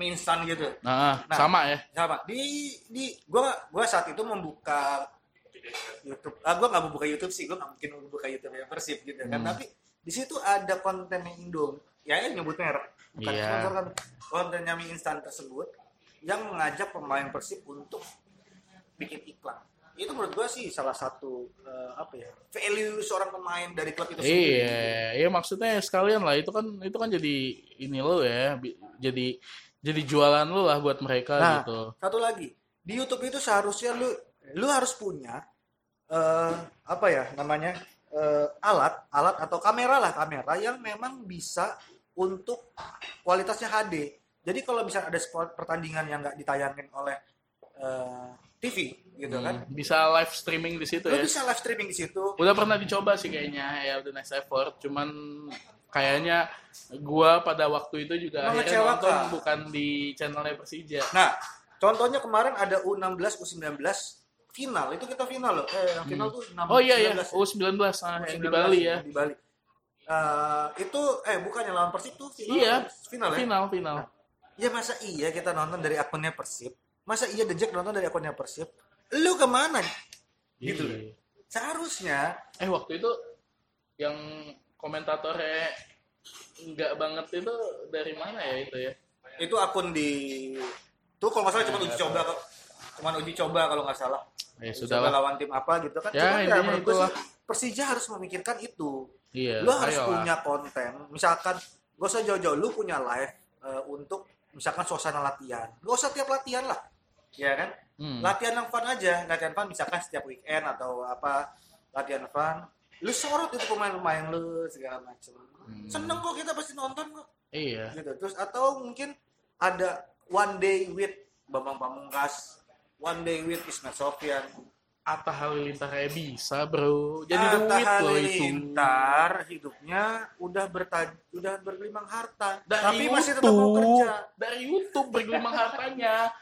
A: mie instan gitu.
B: Nah,
A: Nah.
B: sama ya.
A: Sama. Di di gua gua saat itu membuka YouTube. Ah, gua nggak mau buka YouTube sih, gua nggak mungkin buka YouTube yang Persib gitu kan.
B: Hmm.
A: Tapi di situ ada kontennya Indom. Ya, ya nyebut merek. Bukan
B: Iya.
A: sponsor kan. Kontennya mie instan tersebut yang mengajak pemain Persib untuk bikin iklan. Itu menurut gua sih salah satu eh, apa ya? value seorang pemain dari klub itu
B: Iya, iya maksudnya sekalian lah itu kan itu kan jadi ini lo ya, bi- jadi jadi jualan lo lah buat mereka
A: Nah.
B: gitu.
A: satu lagi di YouTube itu seharusnya lu lu harus punya eh apa ya namanya eh, alat alat atau kamera lah kamera yang memang bisa untuk kualitasnya HD jadi kalau misalnya ada sport pertandingan yang nggak ditayangin oleh eh, TV gitu kan
B: Hmm, Bisa live streaming di situ
A: lu
B: ya.
A: bisa live streaming di situ
B: Udah pernah dicoba sih kayaknya ya The Next Effort, cuman kayaknya gua pada waktu itu juga akhirnya
A: Mengecewakan.
B: nonton bukan di channelnya Persija.
A: nah contohnya kemarin ada U16 U19 final itu kita final loh eh, yang final tuh 16
B: Oh iya ya,
A: 19.
B: U19 ah, yang di
A: 19,
B: Bali ya.
A: Di Bali. Eh, itu eh bukannya lawan Persib tuh final.
B: Iya,
A: Final ya.
B: Final, final.
A: Ya masa iya kita nonton dari akunnya Persib? Masa iya The Jack nonton dari akunnya Persib? Lu kemana? Gitu loh.
B: Iya.
A: Seharusnya
B: Eh waktu itu yang komentatornya nggak banget itu dari mana ya itu ya?
A: itu akun di tuh kalau nggak salah cuma uji coba kok. Cuman uji coba kalau nggak salah.
B: Ya
A: Uji
B: sudah
A: coba
B: lah.
A: lawan tim apa gitu kan.
B: Ya,
A: Cuman
B: intinya
A: menurut gue
B: itulah.
A: sih, Persija harus memikirkan itu.
B: Iya.
A: lu harus
B: ayolah.
A: punya konten misalkan gak usah jauh-jauh lu punya live eh, untuk misalkan suasana latihan lu usah tiap latihan lah ya kan
B: Hmm.
A: latihan yang fun aja latihan fun misalkan setiap weekend atau apa latihan fun lu sorot itu pemain-pemain lu segala macam
B: Hmm.
A: seneng kok kita pasti nonton kok
B: Iya.
A: gitu terus atau mungkin ada one day with Bambang Pamungkas one day with Ismail Sofyan
B: Atta Halilintar ya bisa bro. Jadi
A: Atta
B: duit loh itu.
A: Halilintar hidupnya udah berta- udah bergelimang harta,
B: Dari
A: tapi masih tetap
B: YouTube,
A: mau kerja.
B: dari YouTube bergelimang hartanya.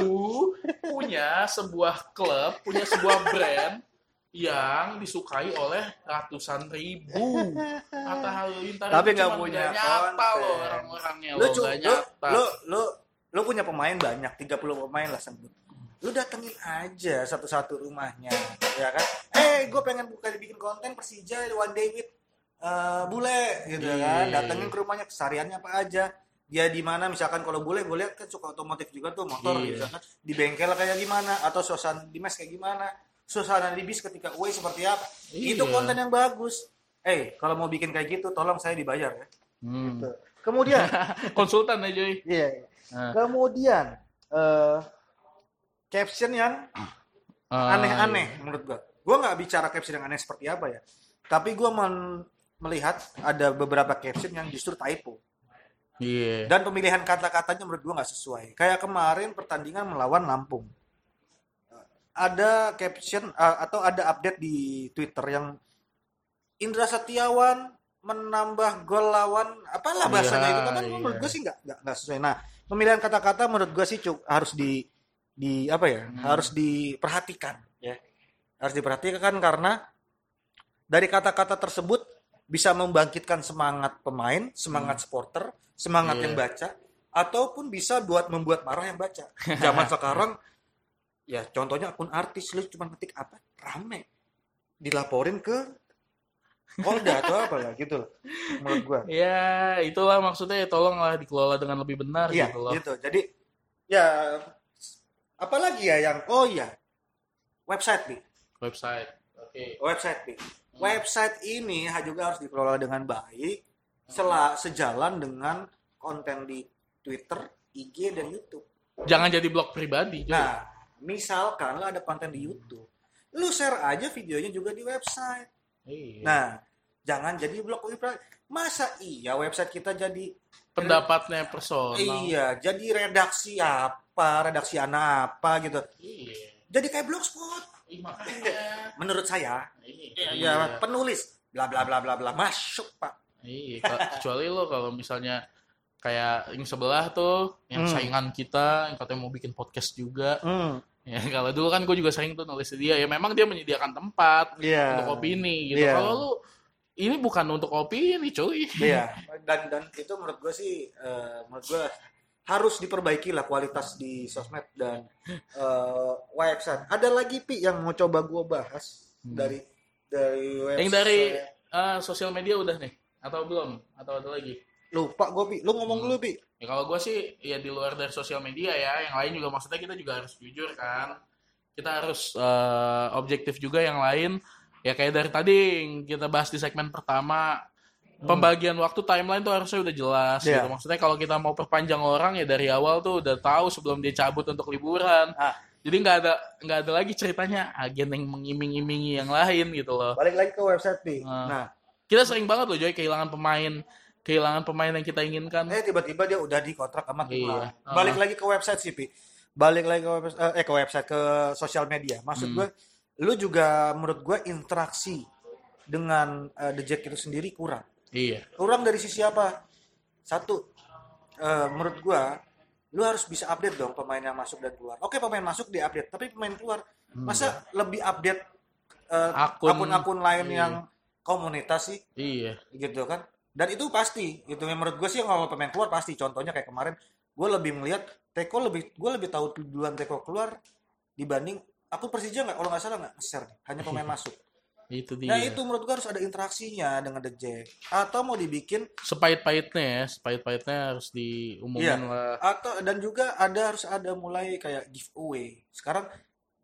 B: Lu punya sebuah klub, punya sebuah brand yang disukai oleh ratusan ribu. Atta Halilintar
A: Tapi
B: itu
A: nggak
B: cuman
A: punya
B: nggak nyata
A: konten.
B: loh orang-orangnya
A: Lu
B: lo
A: cu-
B: nggak
A: lu,
B: nyata.
A: lu, lu, lu punya pemain banyak, 30 pemain lah sebut. Lu datengin aja satu-satu rumahnya, ya kan? Eh, gue pengen buka bikin konten Persija One Day with eh, Bule, gitu kan?
B: Iya.
A: Datengin ke rumahnya, kesariannya apa aja? Dia di mana misalkan kalau Bule, gue lihat kan suka otomotif juga tuh motor,
B: Iya.
A: gitu kan? Di bengkel kayak gimana? Atau suasana di mes kayak gimana? Suasana di bis ketika away seperti apa? Itu
B: Iya.
A: konten yang bagus. Eh, kalau mau bikin kayak gitu, tolong saya dibayar ya.
B: Hmm.
A: Tuh. Kemudian,
B: Konsultan aja. Joy.
A: Iya. iya.
B: Nah.
A: Kemudian eh caption yang
B: Ah,
A: aneh-aneh menurut gua. Gua nggak bicara caption yang aneh seperti apa ya. Tapi gua men- melihat ada beberapa caption yang justru typo
B: Iya.
A: dan pemilihan kata-katanya menurut gua nggak sesuai. Kayak kemarin pertandingan melawan Lampung. Eh, Ada caption eh, atau ada update di Twitter yang Indra Setiawan menambah gol lawan apalah bahasanya
B: Iya,
A: itu kan
B: iya.
A: menurut gue sih nggak nggak nggak sesuai. Nah pemilihan kata-kata menurut gue sih cuk, harus di di apa ya
B: Hmm. Iya.
A: harus diperhatikan ya harus diperhatikan karena dari kata-kata tersebut bisa membangkitkan semangat pemain, semangat supporter, semangat
B: Hmm. Iya.
A: yang baca, ataupun bisa buat membuat marah yang baca. Zaman sekarang, ya contohnya akun artis lu cuma ngetik apa rame, dilaporin ke Polda atau apalah gitu loh, menurut gua.
B: Ya, itulah maksudnya ya, tolonglah dikelola dengan lebih benar
A: Iya,
B: gitu loh.
A: gitu. Jadi ya apalagi ya yang oh ya website nih,
B: Website. Oke.
A: website nih. Website ini juga harus dikelola dengan baik, sela- sejalan dengan konten di Twitter, IG dan YouTube.
B: Jangan jadi blog pribadi. Joy.
A: Nah, misalkan lo ada konten di YouTube, lu share aja videonya juga di website.
B: Iya.
A: Nah, jangan jadi blok UI Pride. Masa iya website kita jadi
B: Pendapatnya personal.
A: iya, jadi redaksi apa, redaksi anak apa gitu.
B: Iya.
A: Jadi kayak blogspot
B: Ih, makanya.
A: menurut saya.
B: Iya.
A: Ya, penulis bla bla bla bla bla masuk, Pak.
B: Iya, ke- kecuali lo kalau misalnya kayak yang sebelah tuh, yang
A: Hmm.
B: saingan kita, yang katanya mau bikin podcast juga.
A: Hmm,
B: Ya, kalau dulu kan gue juga sering tuh nulis di dia. Ya memang dia menyediakan tempat
A: iya.
B: untuk opini gitu.
A: Iya.
B: Kalau lu ini bukan untuk opini, cuy.
A: Iya. Dan dan itu menurut gue sih, eh, menurut gue harus diperbaiki lah kualitas di sosmed dan eh, website. Ada lagi pi yang mau coba gue bahas
B: Hmm.
A: dari dari website.
B: Yang dari eh, sosial media udah nih atau belum? Atau ada lagi?
A: lupa gue pi, lu ngomong dulu pi.
B: Ya kalau gue sih ya di luar dari sosial media ya, yang lain juga maksudnya kita juga harus jujur kan. Kita harus eh, objektif juga yang lain. Ya kayak dari tadi yang kita bahas di segmen pertama pembagian waktu timeline tuh harusnya udah jelas
A: Hmm. Iya.
B: gitu. Maksudnya kalau kita mau perpanjang orang ya dari awal tuh udah tahu sebelum dia cabut untuk liburan.
A: Ah.
B: Jadi nggak ada nggak ada lagi ceritanya agen yang mengiming-imingi yang lain gitu loh.
A: Balik lagi ke website pi.
B: Ah.
A: Nah,
B: Kita sering banget loh Joy kehilangan pemain kehilangan pemain yang kita inginkan.
A: eh tiba-tiba dia udah dikontrak sama tim
B: Iya.
A: lain.
B: Ah.
A: Balik lagi ke website sih pi. Balik lagi ke website, eh ke website ke sosial media. Maksud
B: Hmm.
A: gue, lu juga menurut gue interaksi dengan eh, the Jack itu sendiri kurang.
B: Iya.
A: kurang dari sisi apa? Satu, eh, menurut gua, lu harus bisa update dong pemain yang masuk dan keluar. Oke, pemain masuk di update, tapi pemain keluar masa lebih update eh,
B: Hmm. Akun-
A: akun-akun lain
B: iya.
A: yang komunitas sih,
B: Iya.
A: gitu kan? Dan itu pasti, itu yang menurut gue sih yang ngomong pemain keluar pasti. Contohnya kayak kemarin, gue lebih melihat Teko lebih, gue lebih tahu duluan Teko keluar dibanding aku Persija nggak, kalau nggak salah nggak share, hanya pemain masuk.
B: Itu dia.
A: Nah itu menurut gue harus ada interaksinya dengan The Jack. Atau mau dibikin
B: Sepait-paitnya ya, sepait-paitnya harus diumumin
A: Iya.
B: lah.
A: atau dan juga ada harus ada mulai kayak giveaway sekarang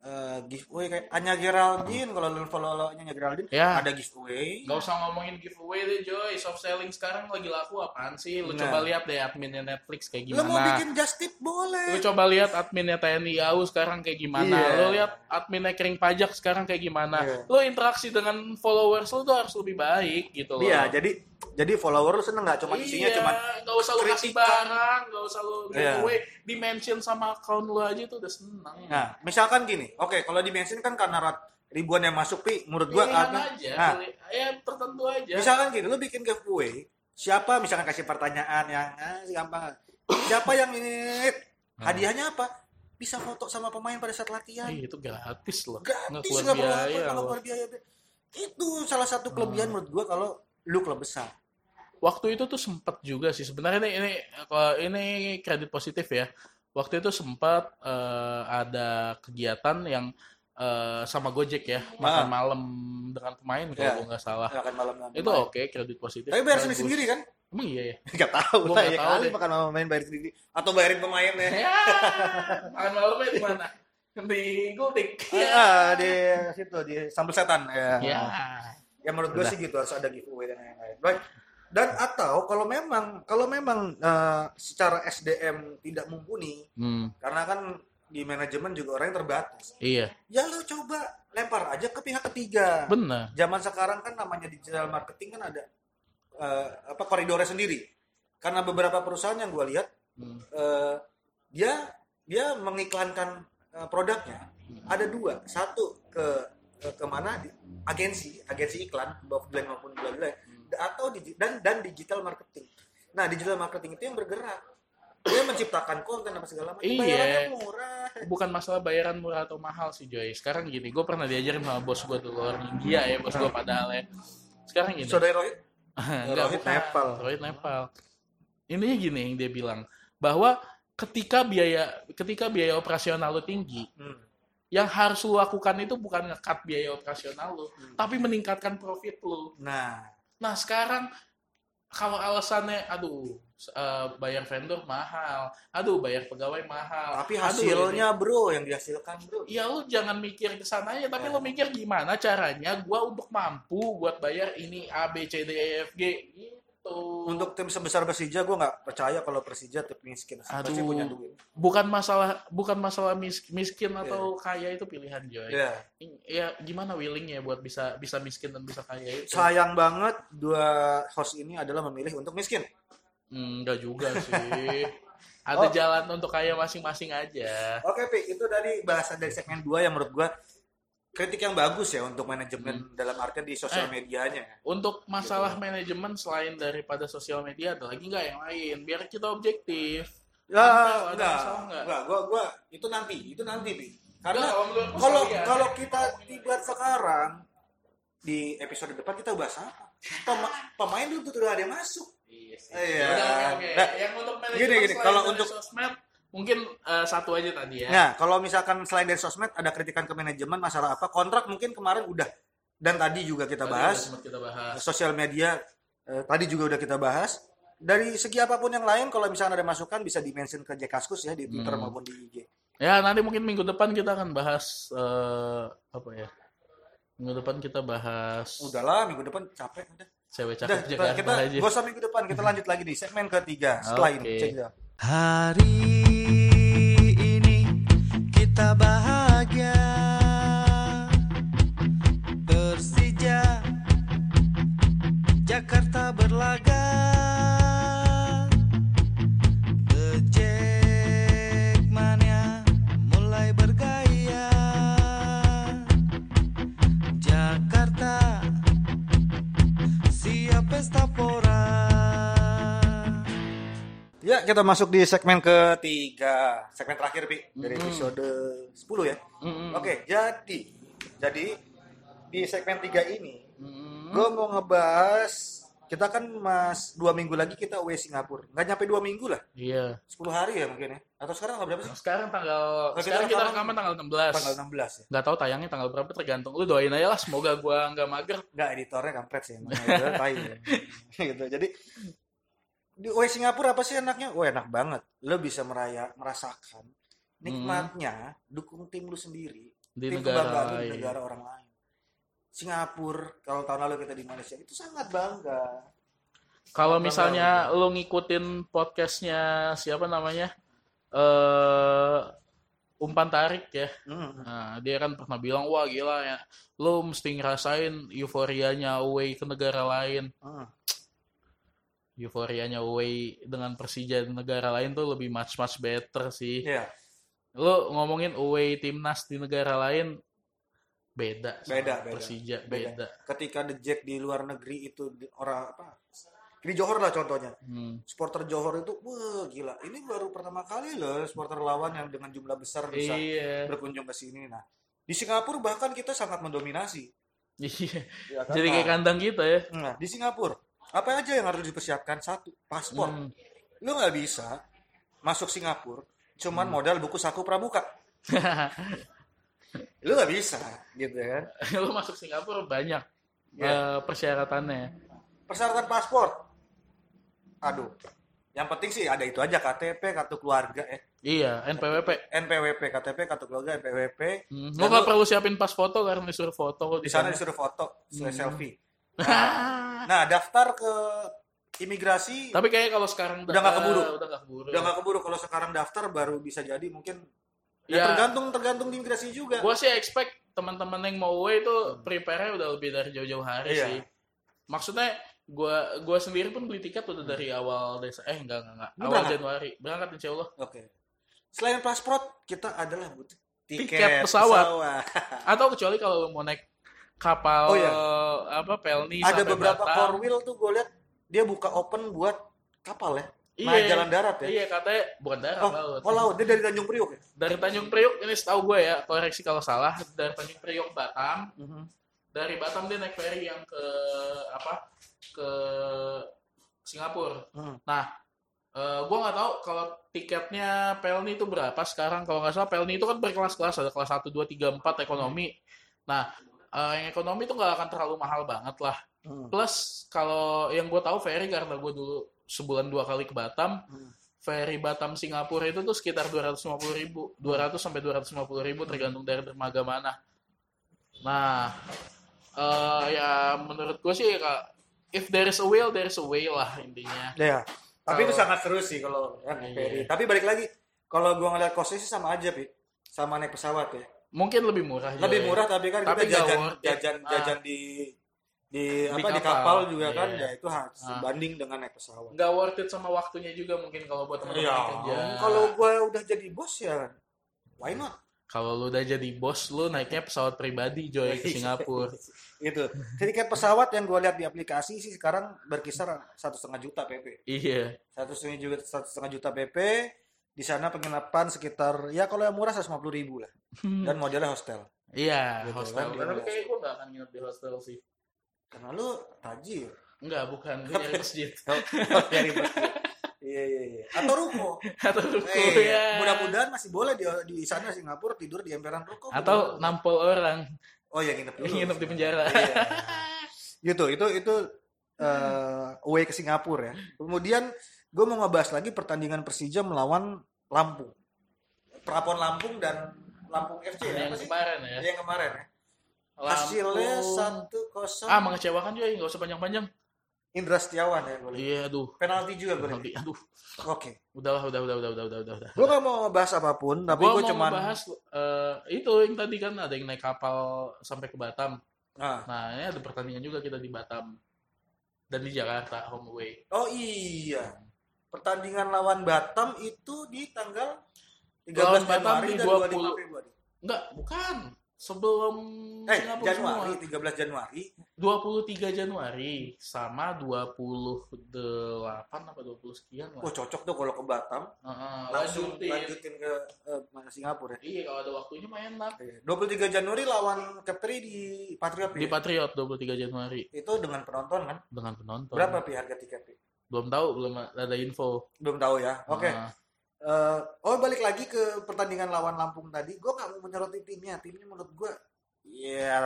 A: eh, giveaway kayak Anya Geraldine kalau lu follow Anya Geraldine
B: Ya.
A: ada giveaway
B: Gak usah ngomongin giveaway deh Joy, soft selling sekarang lagi laku apaan sih? Lu
A: Nah.
B: coba lihat deh adminnya Netflix kayak
A: lu mau
B: gimana.
A: bikin just tip
B: Lu
A: boleh
B: coba lihat adminnya TNI AU sekarang kayak gimana.
A: Iya.
B: Lu lihat adminnya Kering Pajak sekarang kayak gimana.
A: Iya.
B: Lu interaksi dengan followers lu tuh harus lebih baik gitu loh.
A: iya jadi jadi follower lu seneng nggak cuma isinya
B: Iya,
A: cuma
B: gak usah lu kasih
A: kritikan.
B: barang, gak usah lu
A: Iya.
B: giveaway, di mention sama account lu aja tuh udah seneng.
A: nah misalkan gini oke kalau di bensin kan karena rat- ribuan yang masuk pi menurut gua
B: Pilihan
A: admin-
B: Iya, aja,
A: nah, Iya,
B: pilih- ya tertentu aja.
A: misalkan gini lu bikin giveaway siapa misalkan kasih pertanyaan yang ah, gampang siapa yang ini
B: Hmm.
A: hadiahnya apa bisa foto sama pemain pada saat latihan
B: Ih, Iya, itu gratis loh. Nggak
A: gratis
B: keluar
A: nggak perlu apa
B: biaya
A: kalau
B: loh.
A: keluar biaya Hmm. itu salah satu kelebihan menurut gua kalau lu klub besar
B: Waktu itu tuh sempat juga sih sebenarnya ini ini kalau ini kredit positif ya. Waktu itu sempat eh, ada kegiatan yang eh, sama Gojek ya,
A: Ah.
B: makan malam dengan pemain kalau
A: Ya.
B: gua nggak salah.
A: makan malam malam
B: Itu oke, kredit positif.
A: tapi bayar sendiri
B: Bagus.
A: sendiri kan
B: Emang iya ya.
A: nggak tahu
B: Gua
A: lah
B: nggak
A: ya
B: tahu
A: kali Iya,
B: deh.
A: makan malam main bayar sendiri atau bayarin pemainnya
B: Ya, makan malamnya di mana? Iya. Di Gultik.
A: Ah, di situ di sambal setan ya.
B: Ya.
A: Ya, menurut gua
B: Udah.
A: sih gitu harus ada giveaway dan lain-lain. Baik. Dan atau kalau memang kalau memang eh, secara SDM tidak mumpuni
B: Hmm,
A: karena kan di manajemen juga orang yang terbatas.
B: iya,
A: Ya lu coba lempar aja ke pihak ketiga.
B: benar.
A: zaman sekarang kan namanya digital marketing kan ada eh, apa koridornya sendiri karena beberapa perusahaan yang gue lihat
B: Hmm.
A: eh, dia dia mengiklankan eh, produknya ada dua satu ke eh, kemana agensi agensi iklan baik blank maupun blank blank atau digi- dan dan digital marketing nah digital marketing itu yang bergerak dia menciptakan konten apa segala macam
B: Iya.
A: bayarannya murah
B: bukan masalah bayaran murah atau mahal sih Joy. Sekarang gini, gue pernah diajarin sama bos gue dulu orang India ya, bos gue padahal ya. Sekarang gini.
A: saudara Rohit
B: Enggak,
A: Rohit
B: bukan.
A: Nepal.
B: Rohit Nepal. Intinya gini yang dia bilang, bahwa ketika biaya ketika biaya operasional lo tinggi,
A: hmm.
B: yang harus lo lakukan itu bukan ngekat biaya operasional lo,
A: Hmm.
B: tapi meningkatkan profit lo.
A: nah
B: Nah sekarang kalau alasannya, aduh eh, bayar vendor mahal, aduh bayar pegawai mahal,
A: tapi
B: aduh, ini-
A: hasilnya bro yang dihasilkan bro
B: ya lu jangan mikir ke sana ya tapi lu
A: Iya.
B: mikir gimana caranya gua untuk mampu buat bayar ini A B C D E F G Gitu.
A: Untuk tim sebesar Persija gue nggak percaya kalau Persija tim miskin. Pasti
B: Aduh.
A: punya duit.
B: bukan masalah bukan masalah mis- miskin atau kaya itu pilihan Joy.
A: Iya.
B: Ya gimana willingnya buat bisa bisa miskin dan bisa kaya itu?
A: Sayang banget dua host ini adalah memilih untuk miskin.
B: Hmm, Enggak juga sih.
A: Oh.
B: Ada jalan untuk kaya masing-masing aja.
A: Oke, Pi, itu dari bahasan dari segmen 2 yang menurut gua kritik yang bagus ya untuk manajemen dalam artian di sosial
B: Hmm. Eh.
A: medianya. Gitu.
B: Untuk masalah manajemen selain daripada sosial media ada lagi nggak yang lain? Biar kita objektif.
A: Ya,
B: Ada
A: enggak,
B: masalah
A: enggak,
B: enggak?
A: gua gua itu nanti, itu nanti, Pi. Karena
B: Enggak, kalau menurut gua
A: kalau
B: sorry ya.
A: kalau kita tiba sekarang di episode depan kita bahas apa? Pema- pemain dulu tuh udah ada yang masuk.
B: Iya. sih.
A: Iya.
B: Yaudah, oke, oke.
A: Nah,
B: yang untuk manajemen
A: gini, gini,
B: selain
A: kalau
B: dari
A: untuk-
B: sosmed mungkin eh, satu aja tadi ya.
A: Nah, kalau misalkan selain dari sosmed ada kritikan ke manajemen masalah apa? Kontrak mungkin kemarin udah dan tadi juga kita
B: Tadi
A: bahas.
B: udah sempat kita bahas.
A: sosial media eh, tadi juga udah kita bahas dari segi apapun yang lain kalau misalnya ada masukan bisa dimention ke Jekaskus ya di Twitter
B: Hmm.
A: maupun di IG
B: Ya nanti mungkin minggu depan kita akan bahas eh, apa ya? Minggu depan kita bahas
A: udahlah minggu depan capek udah
B: cewek
A: udah
B: cakep
A: kita,
B: Jakarta
A: kita
B: aja.
A: gak usah minggu depan kita lanjut lagi di segmen ketiga setelah ini
B: Oke.
A: check it out.
C: Hari ini kita bahagia Persija Jakarta berlaga Becek mania mulai bergaya Jakarta siap pesta pora
A: ya kita masuk di segmen ketiga segmen terakhir pi dari
B: Mhm.
A: episode 10 ya
B: Mm-mm.
A: oke jadi jadi di segmen 3 ini
B: Mm-mm.
A: gue mau ngebahas kita kan mas dua minggu lagi kita away Singapura nggak nyampe dua minggu lah
B: Iya.
A: 10 hari ya mungkin ya atau sekarang tanggal berapa sih
B: Nah, Sekarang tanggal
A: Nah, kita
B: sekarang kita
A: rekaman-
B: rekaman tanggal 16.
A: tanggal 16 ya
B: Nggak tahu tayangnya tanggal berapa tergantung lu doain aja lah semoga gua nggak mager.
A: nggak editornya kampret sih emang Editor tai ya. gitu jadi di away Singapura apa sih enaknya wah enak banget lo bisa meraya merasakan nikmatnya dukung tim lu sendiri
B: Mm-hmm. Di
A: tim
B: negara
A: kebanggaan lu di
B: lain.
A: negara orang lain Singapura kalau tahun lalu kita di Malaysia itu sangat bangga
B: Kalau
A: Bangga
B: misalnya
A: gitu.
B: lu ngikutin podcastnya siapa namanya? Eh umpan tarik ya.
A: Mm.
B: Nah, dia kan pernah bilang, wah gila ya, lo mesti ngerasain euforianya away ke negara lain.
A: Mm.
B: Euforianya away dengan Persija di negara lain tuh lebih much-much better sih.
A: Iya,
B: Lo ngomongin away timnas di negara lain, beda. sama
A: Beda, beda.
B: Persija,
A: Beda.
B: beda.
A: ketika The Jack di luar negeri itu di- orang apa di Johor lah contohnya
B: Hmm.
A: supporter Johor itu wah gila ini baru pertama kali loh supporter lawan yang dengan jumlah besar bisa
B: Iya.
A: berkunjung ke sini nah di Singapura bahkan kita sangat mendominasi
B: Iya.
A: ya kan?
B: Jadi kayak
A: Nah,
B: kandang kita ya.
A: nah, di Singapura apa aja yang harus dipersiapkan satu paspor
B: Hmm.
A: lu nggak bisa masuk Singapura cuman
B: Hmm.
A: modal buku saku pramuka lu nggak bisa gitu kan
B: lo masuk Singapura banyak
A: Iya.
B: eh, persyaratannya.
A: persyaratan paspor aduh yang penting sih ada itu aja KTP kartu keluarga eh
B: Iya, NPWP.
A: NPWP KTP kartu keluarga NPWP
B: Hmm.
A: Dan
B: Lo nggak
A: lu-
B: perlu siapin pas foto karena disuruh foto kok
A: di sana Hmm. disuruh foto disuruh selfie nah daftar ke imigrasi
B: Tapi kayaknya kalau sekarang
A: Udah nggak keburu.
B: udah nggak keburu.
A: udah nggak keburu kalau sekarang daftar baru bisa jadi mungkin ya,
B: Ya.
A: tergantung tergantung di imigrasi juga
B: Gua sih expect teman-teman yang mau away itu prepare udah lebih dari jauh-jauh
A: Hmm.
B: hari
A: Iya.
B: sih. Maksudnya gua gua sendiri pun beli tiket udah dari awal desa eh enggak enggak, enggak.
A: Lu
B: awal
A: berangkat?
B: Januari. Berangkat insya Allah.
A: oke selain paspor kita adalah butuh tiket,
B: Tiket pesawat. Atau kecuali kalau mau naik
A: Ah.
B: kapal
A: Oh, iya.
B: apa Pelni
A: ada
B: sampai
A: beberapa
B: Batam.
A: four wheel tuh gue lihat dia buka open buat kapal ya
B: Iya.
A: naik jalan darat ya
B: Iya katanya bukan darat
A: oh,
B: laut.
A: oh laut dia dari Tanjung Priok ya
B: Dari Tanjung Priok ini setahu gue ya koreksi kalau salah dari Tanjung Priok Batam dari Batam dia naik ferry yang ke apa ke Singapura.
A: Hmm.
B: Nah, eh gue nggak tahu kalau tiketnya Pelni itu berapa sekarang. Kalau nggak salah Pelni itu kan berkelas-kelas ada kelas 1, 2, 3, 4 ekonomi. Nah, eh, yang ekonomi itu nggak akan terlalu mahal banget lah.
A: Hmm.
B: Plus kalau yang gue tahu ferry karena gue dulu sebulan dua kali ke Batam,
A: Hmm.
B: ferry Batam Singapura itu tuh sekitar 250 ribu, 200 sampai 250 ribu tergantung dari dermaga mana. Nah, eh, ya menurut gue sih Kak, if there is a will there is a way lah intinya
A: Ya. Tapi itu
B: Kalau-
A: sangat seru sih kalau kan
B: Iya.
A: ferry. Tapi balik lagi kalau gua ngeliat kosnya sih sama aja, Pi. Sama naik pesawat ya.
B: mungkin lebih murah juga
A: Lebih
B: ya.
A: murah tapi kan
B: Iya, Tapi
A: kita
B: nggak
A: jajan
B: worth it.
A: jajan
B: Ah.
A: jajan di di, apa di kapal
B: kapal.
A: juga kan
B: Iya.
A: ya itu harus
B: Ah.
A: sebanding dengan naik pesawat.
B: nggak worth it sama waktunya juga mungkin kalau buat teman-teman
A: Iya.
B: yang kerja
A: Kalau gua udah jadi bos ya why not?
B: kalau lu udah jadi bos lu naiknya pesawat pribadi joy
A: Iya.
B: ke Singapura
A: itu. Tiket Gitu. pesawat yang gua lihat di aplikasi sih sekarang berkisar satu setengah juta PP.
B: iya
A: satu setengah juta satu setengah juta PP di sana penginapan sekitar ya kalau yang murah 150 ribu lah
B: Hmm.
A: dan modelnya hostel
B: iya
A: Gitu kan,
B: hostel
A: iya.
B: tapi kayak gue nggak akan nginep di hostel sih
A: karena lu tajir
B: Enggak, bukan Gua nyari masjid
A: Dari masjid. iya iya iya atau ruko
B: atau ruko
A: Eh,
B: ya
A: mudah-mudahan masih boleh di di sana Singapura tidur di emperan ruko Mudah-mudahan.
B: atau nampol orang
A: oh ya nginep dulu
B: nginep di penjara
A: Iya. gitu itu itu eh, away ke Singapura ya kemudian gue mau ngebahas lagi pertandingan Persija melawan Lampung Prapon Lampung dan Lampung FC ya
B: yang
A: apa sih?
B: kemarin ya
A: Yang kemarin ya.
B: Lampung.
A: Hasilnya satu kosong.
B: ah mengecewakan juga nggak usah panjang-panjang
A: Indra Setiawan ya boleh.
B: iya aduh
A: Penalti juga boleh.
B: nanti aduh
A: Oke.
B: udahlah udah udah udah udah udah udah udah
A: Gue gak mau bahas apapun, tapi
B: Gua
A: gue
B: mau
A: cuman
B: bahas itu yang tadi kan ada yang naik kapal sampai ke Batam
A: Nah.
B: nah ini ada pertandingan juga kita di Batam dan di Jakarta home away
A: Oh iya. Pertandingan lawan Batam itu di tanggal 13
B: Lawan Batam
A: Januari
B: di
A: dan 25
B: 20.
A: Februari.
B: enggak bukan sebelum
A: Eh,
B: Singapura
A: Januari,
B: semua.
A: 13 Januari.
B: 23 Januari sama 28 apa 20 sekian lah.
A: Wah, cocok tuh kalau ke Batam.
B: Heeh,
A: Langsung
B: lanjutin.
A: lanjutin ke eh, Singapura ya.
B: Iya kalau ada waktunya mah enak.
A: Oke. 23 Januari lawan Kepri di Patriot
B: Di
A: ya?
B: Patriot 23 Januari
A: itu dengan penonton kan?
B: dengan penonton.
A: Berapa pi harga tiket? Pi?
B: Belum tahu, belum ada info.
A: Belum tahu ya. Oke.
B: Nah,
A: Eh, oh balik lagi ke pertandingan lawan Lampung tadi, gue nggak mau menyoroti timnya, timnya menurut gue ya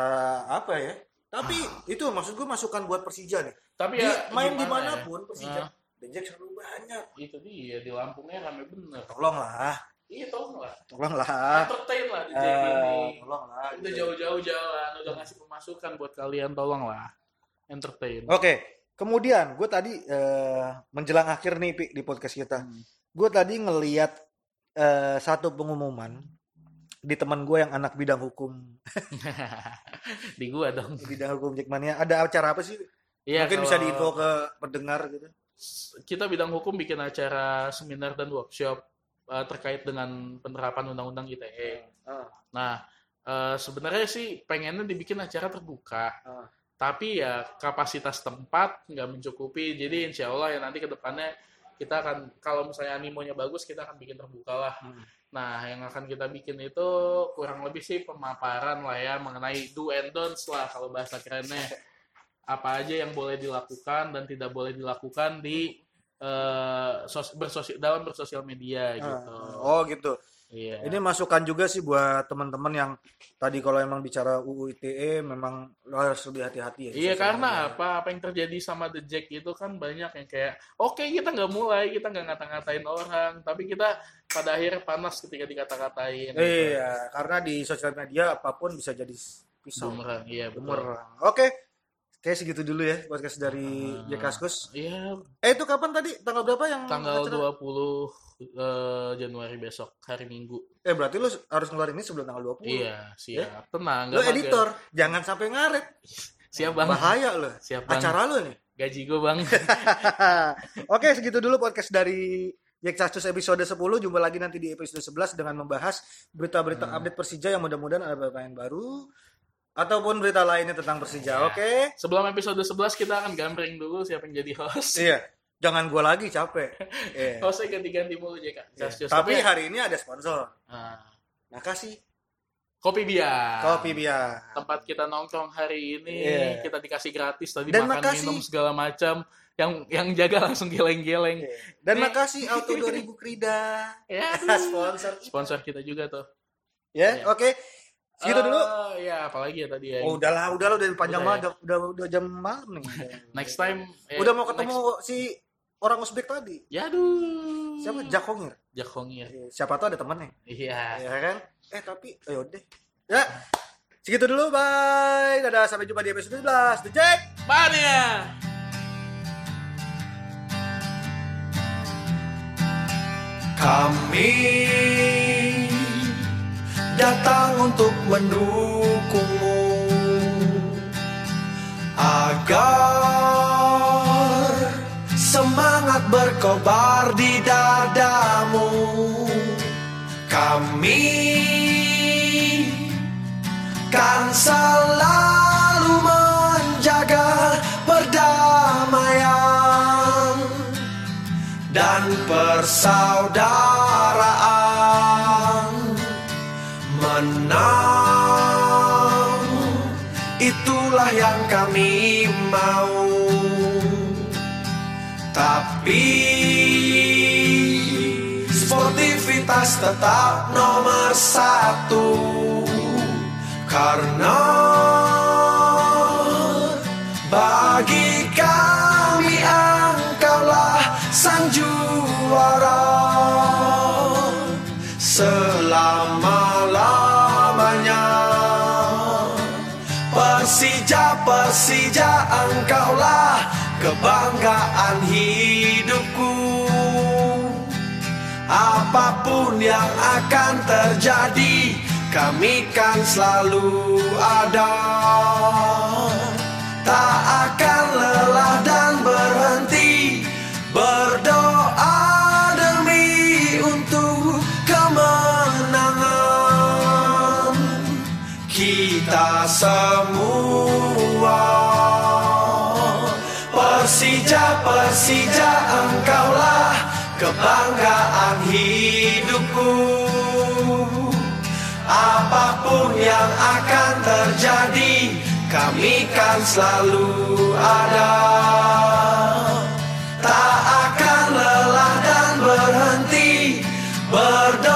A: apa ya? Tapi itu maksud gue masukan buat Persija nih.
B: tapi
A: Di-
B: ya
A: main
B: gimana ya?
A: dimanapun Persija,
B: Ah.
A: Benjek selalu banyak.
B: Itu dia di Lampungnya rame bener.
A: Tolonglah,
B: Iya tolong lah.
A: tolonglah,
B: Entertain lah di
A: Eh,
B: JKT.
A: tolonglah.
B: Udah
A: gitu.
B: jauh-jauh jalan, udah ngasih pemasukan buat kalian tolong lah. Entertain.
A: Oke, kemudian gue tadi eh, menjelang akhir nih Pi, di podcast kita,
B: Hmm.
A: gue tadi ngeliat eh, satu pengumuman di teman gue yang anak bidang hukum
B: di gua dong.
A: bidang hukum Jackmania ada acara apa sih
B: Iya,
A: mungkin bisa
B: kalau-
A: diinfo ke pendengar gitu.
B: kita bidang hukum bikin acara seminar dan workshop eh, terkait dengan penerapan undang-undang E. ITE.
A: Ah,
B: Nah, eh, sebenarnya sih pengennya dibikin acara terbuka,
A: Ah.
B: tapi ya kapasitas tempat nggak mencukupi.
A: Hmm.
B: Jadi insya Allah ya nanti kedepannya kita akan kalau misalnya animonya bagus kita akan bikin terbuka lah.
A: Hmm.
B: Nah, yang akan kita bikin itu kurang lebih sih pemaparan lah ya mengenai do and don'ts lah kalau bahasa kerennya. Apa aja yang boleh dilakukan dan tidak boleh dilakukan di eh, sos- bersosio- dalam bersosial media gitu.
A: Oh gitu.
B: Iya.
A: Ini masukan juga sih buat teman-teman yang tadi kalau emang bicara UU ITE E, memang lo harus lebih hati-hati ya. di
B: Iya
A: sosial
B: karena
A: media.
B: apa apa yang terjadi sama The Jack itu kan banyak yang kayak oke kita nggak mulai kita nggak ngata-ngatain orang tapi kita pada akhirnya panas ketika dikata-katain. gitu.
A: Iya, karena di sosial media apapun bisa jadi pisau.
B: Bumerang, iya betul.
A: Bumerang. Oke. Kayak segitu dulu ya podcast dari
B: Ah.
A: Jakaskus.
B: Iya
A: Eh itu kapan tadi? Tanggal berapa yang
B: tanggal
A: acara?
B: 20 eh, Januari besok hari Minggu.
A: Eh berarti lu harus ngeluarin ini sebelum tanggal 20.
B: Iya, siap. Tenang,
A: Eh? Lu
B: nggak mager.
A: editor, jangan sampai ngaret.
B: Siap, Bang.
A: Bahaya lo.
B: Siap, Bang.
A: Acara lu nih.
B: Gaji gue, Bang.
A: Oke, segitu dulu podcast dari Yeksastus episode 10. Jumpa lagi nanti di episode 11 dengan membahas berita-berita
B: Hmm.
A: update Persija yang mudah-mudahan ada pemain baru ataupun berita lainnya tentang Persija.
B: Iya.
A: Oke?
B: Sebelum episode 11 kita akan gambring dulu siapa yang jadi host.
A: Iya. Jangan gua lagi capek. Iya.
B: Hostnya ganti-ganti mulu JK.
A: Iya.
B: Just- ya, just-
A: Tapi hari ini ada sponsor.
B: Nah,
A: Makasih.
B: kopi biar.
A: Kopi biar.
B: Tempat kita nongkrong hari ini,
A: Iya.
B: kita dikasih gratis tadi
A: Dan
B: makan
A: makasih.
B: minum segala macam. Yang yang jaga langsung geleng-geleng.
A: Iya. Dan
B: Nih.
A: makasih Auto 2000 Krida.
B: Ya, aduh.
A: sponsor.
B: Sponsor kita juga tuh.
A: Ya,
B: Iya.
A: oke. Segitu dulu.
B: Eh, ya, apalagi ya tadi ya.
A: Oh, udahlah, udahlah udah panjang
B: Udah ya.
A: banget. Udah, udah, udah jam malam nih.
B: Next time eh,
A: udah mau ketemu
B: next-
A: si orang Uzbek tadi.
B: Ya aduh.
A: Siapa? Jakongir.
B: Jack Hong Hmm. ya.
A: Siapa tahu ada temennya.
B: Iya.
A: Ya kan? Eh tapi ayo deh. Ya. Segitu dulu, bye. Dadah, sampai jumpa di episode 11. The Jack.
B: Mania!
D: Kami datang untuk mendukungmu agar semangat berkobar di dadamu. Kami kan selalu menjaga perdamaian dan persaudaraan menang itulah yang kami mau tapi sportivitas tetap nomor satu karena bagi kami engkaulah sang juara selama-lamanya Persija Persija engkaulah kebanggaan hidupku Apapun yang akan terjadi, kami kan selalu ada. Tak akan lelah dan berhenti berdoa demi untuk kemenangan kita semua. Persija, Persija, engkaulah kebanggaan hidupku. Apapun yang akan terjadi, kami kan selalu ada. Tak akan lelah dan berhenti berdoa.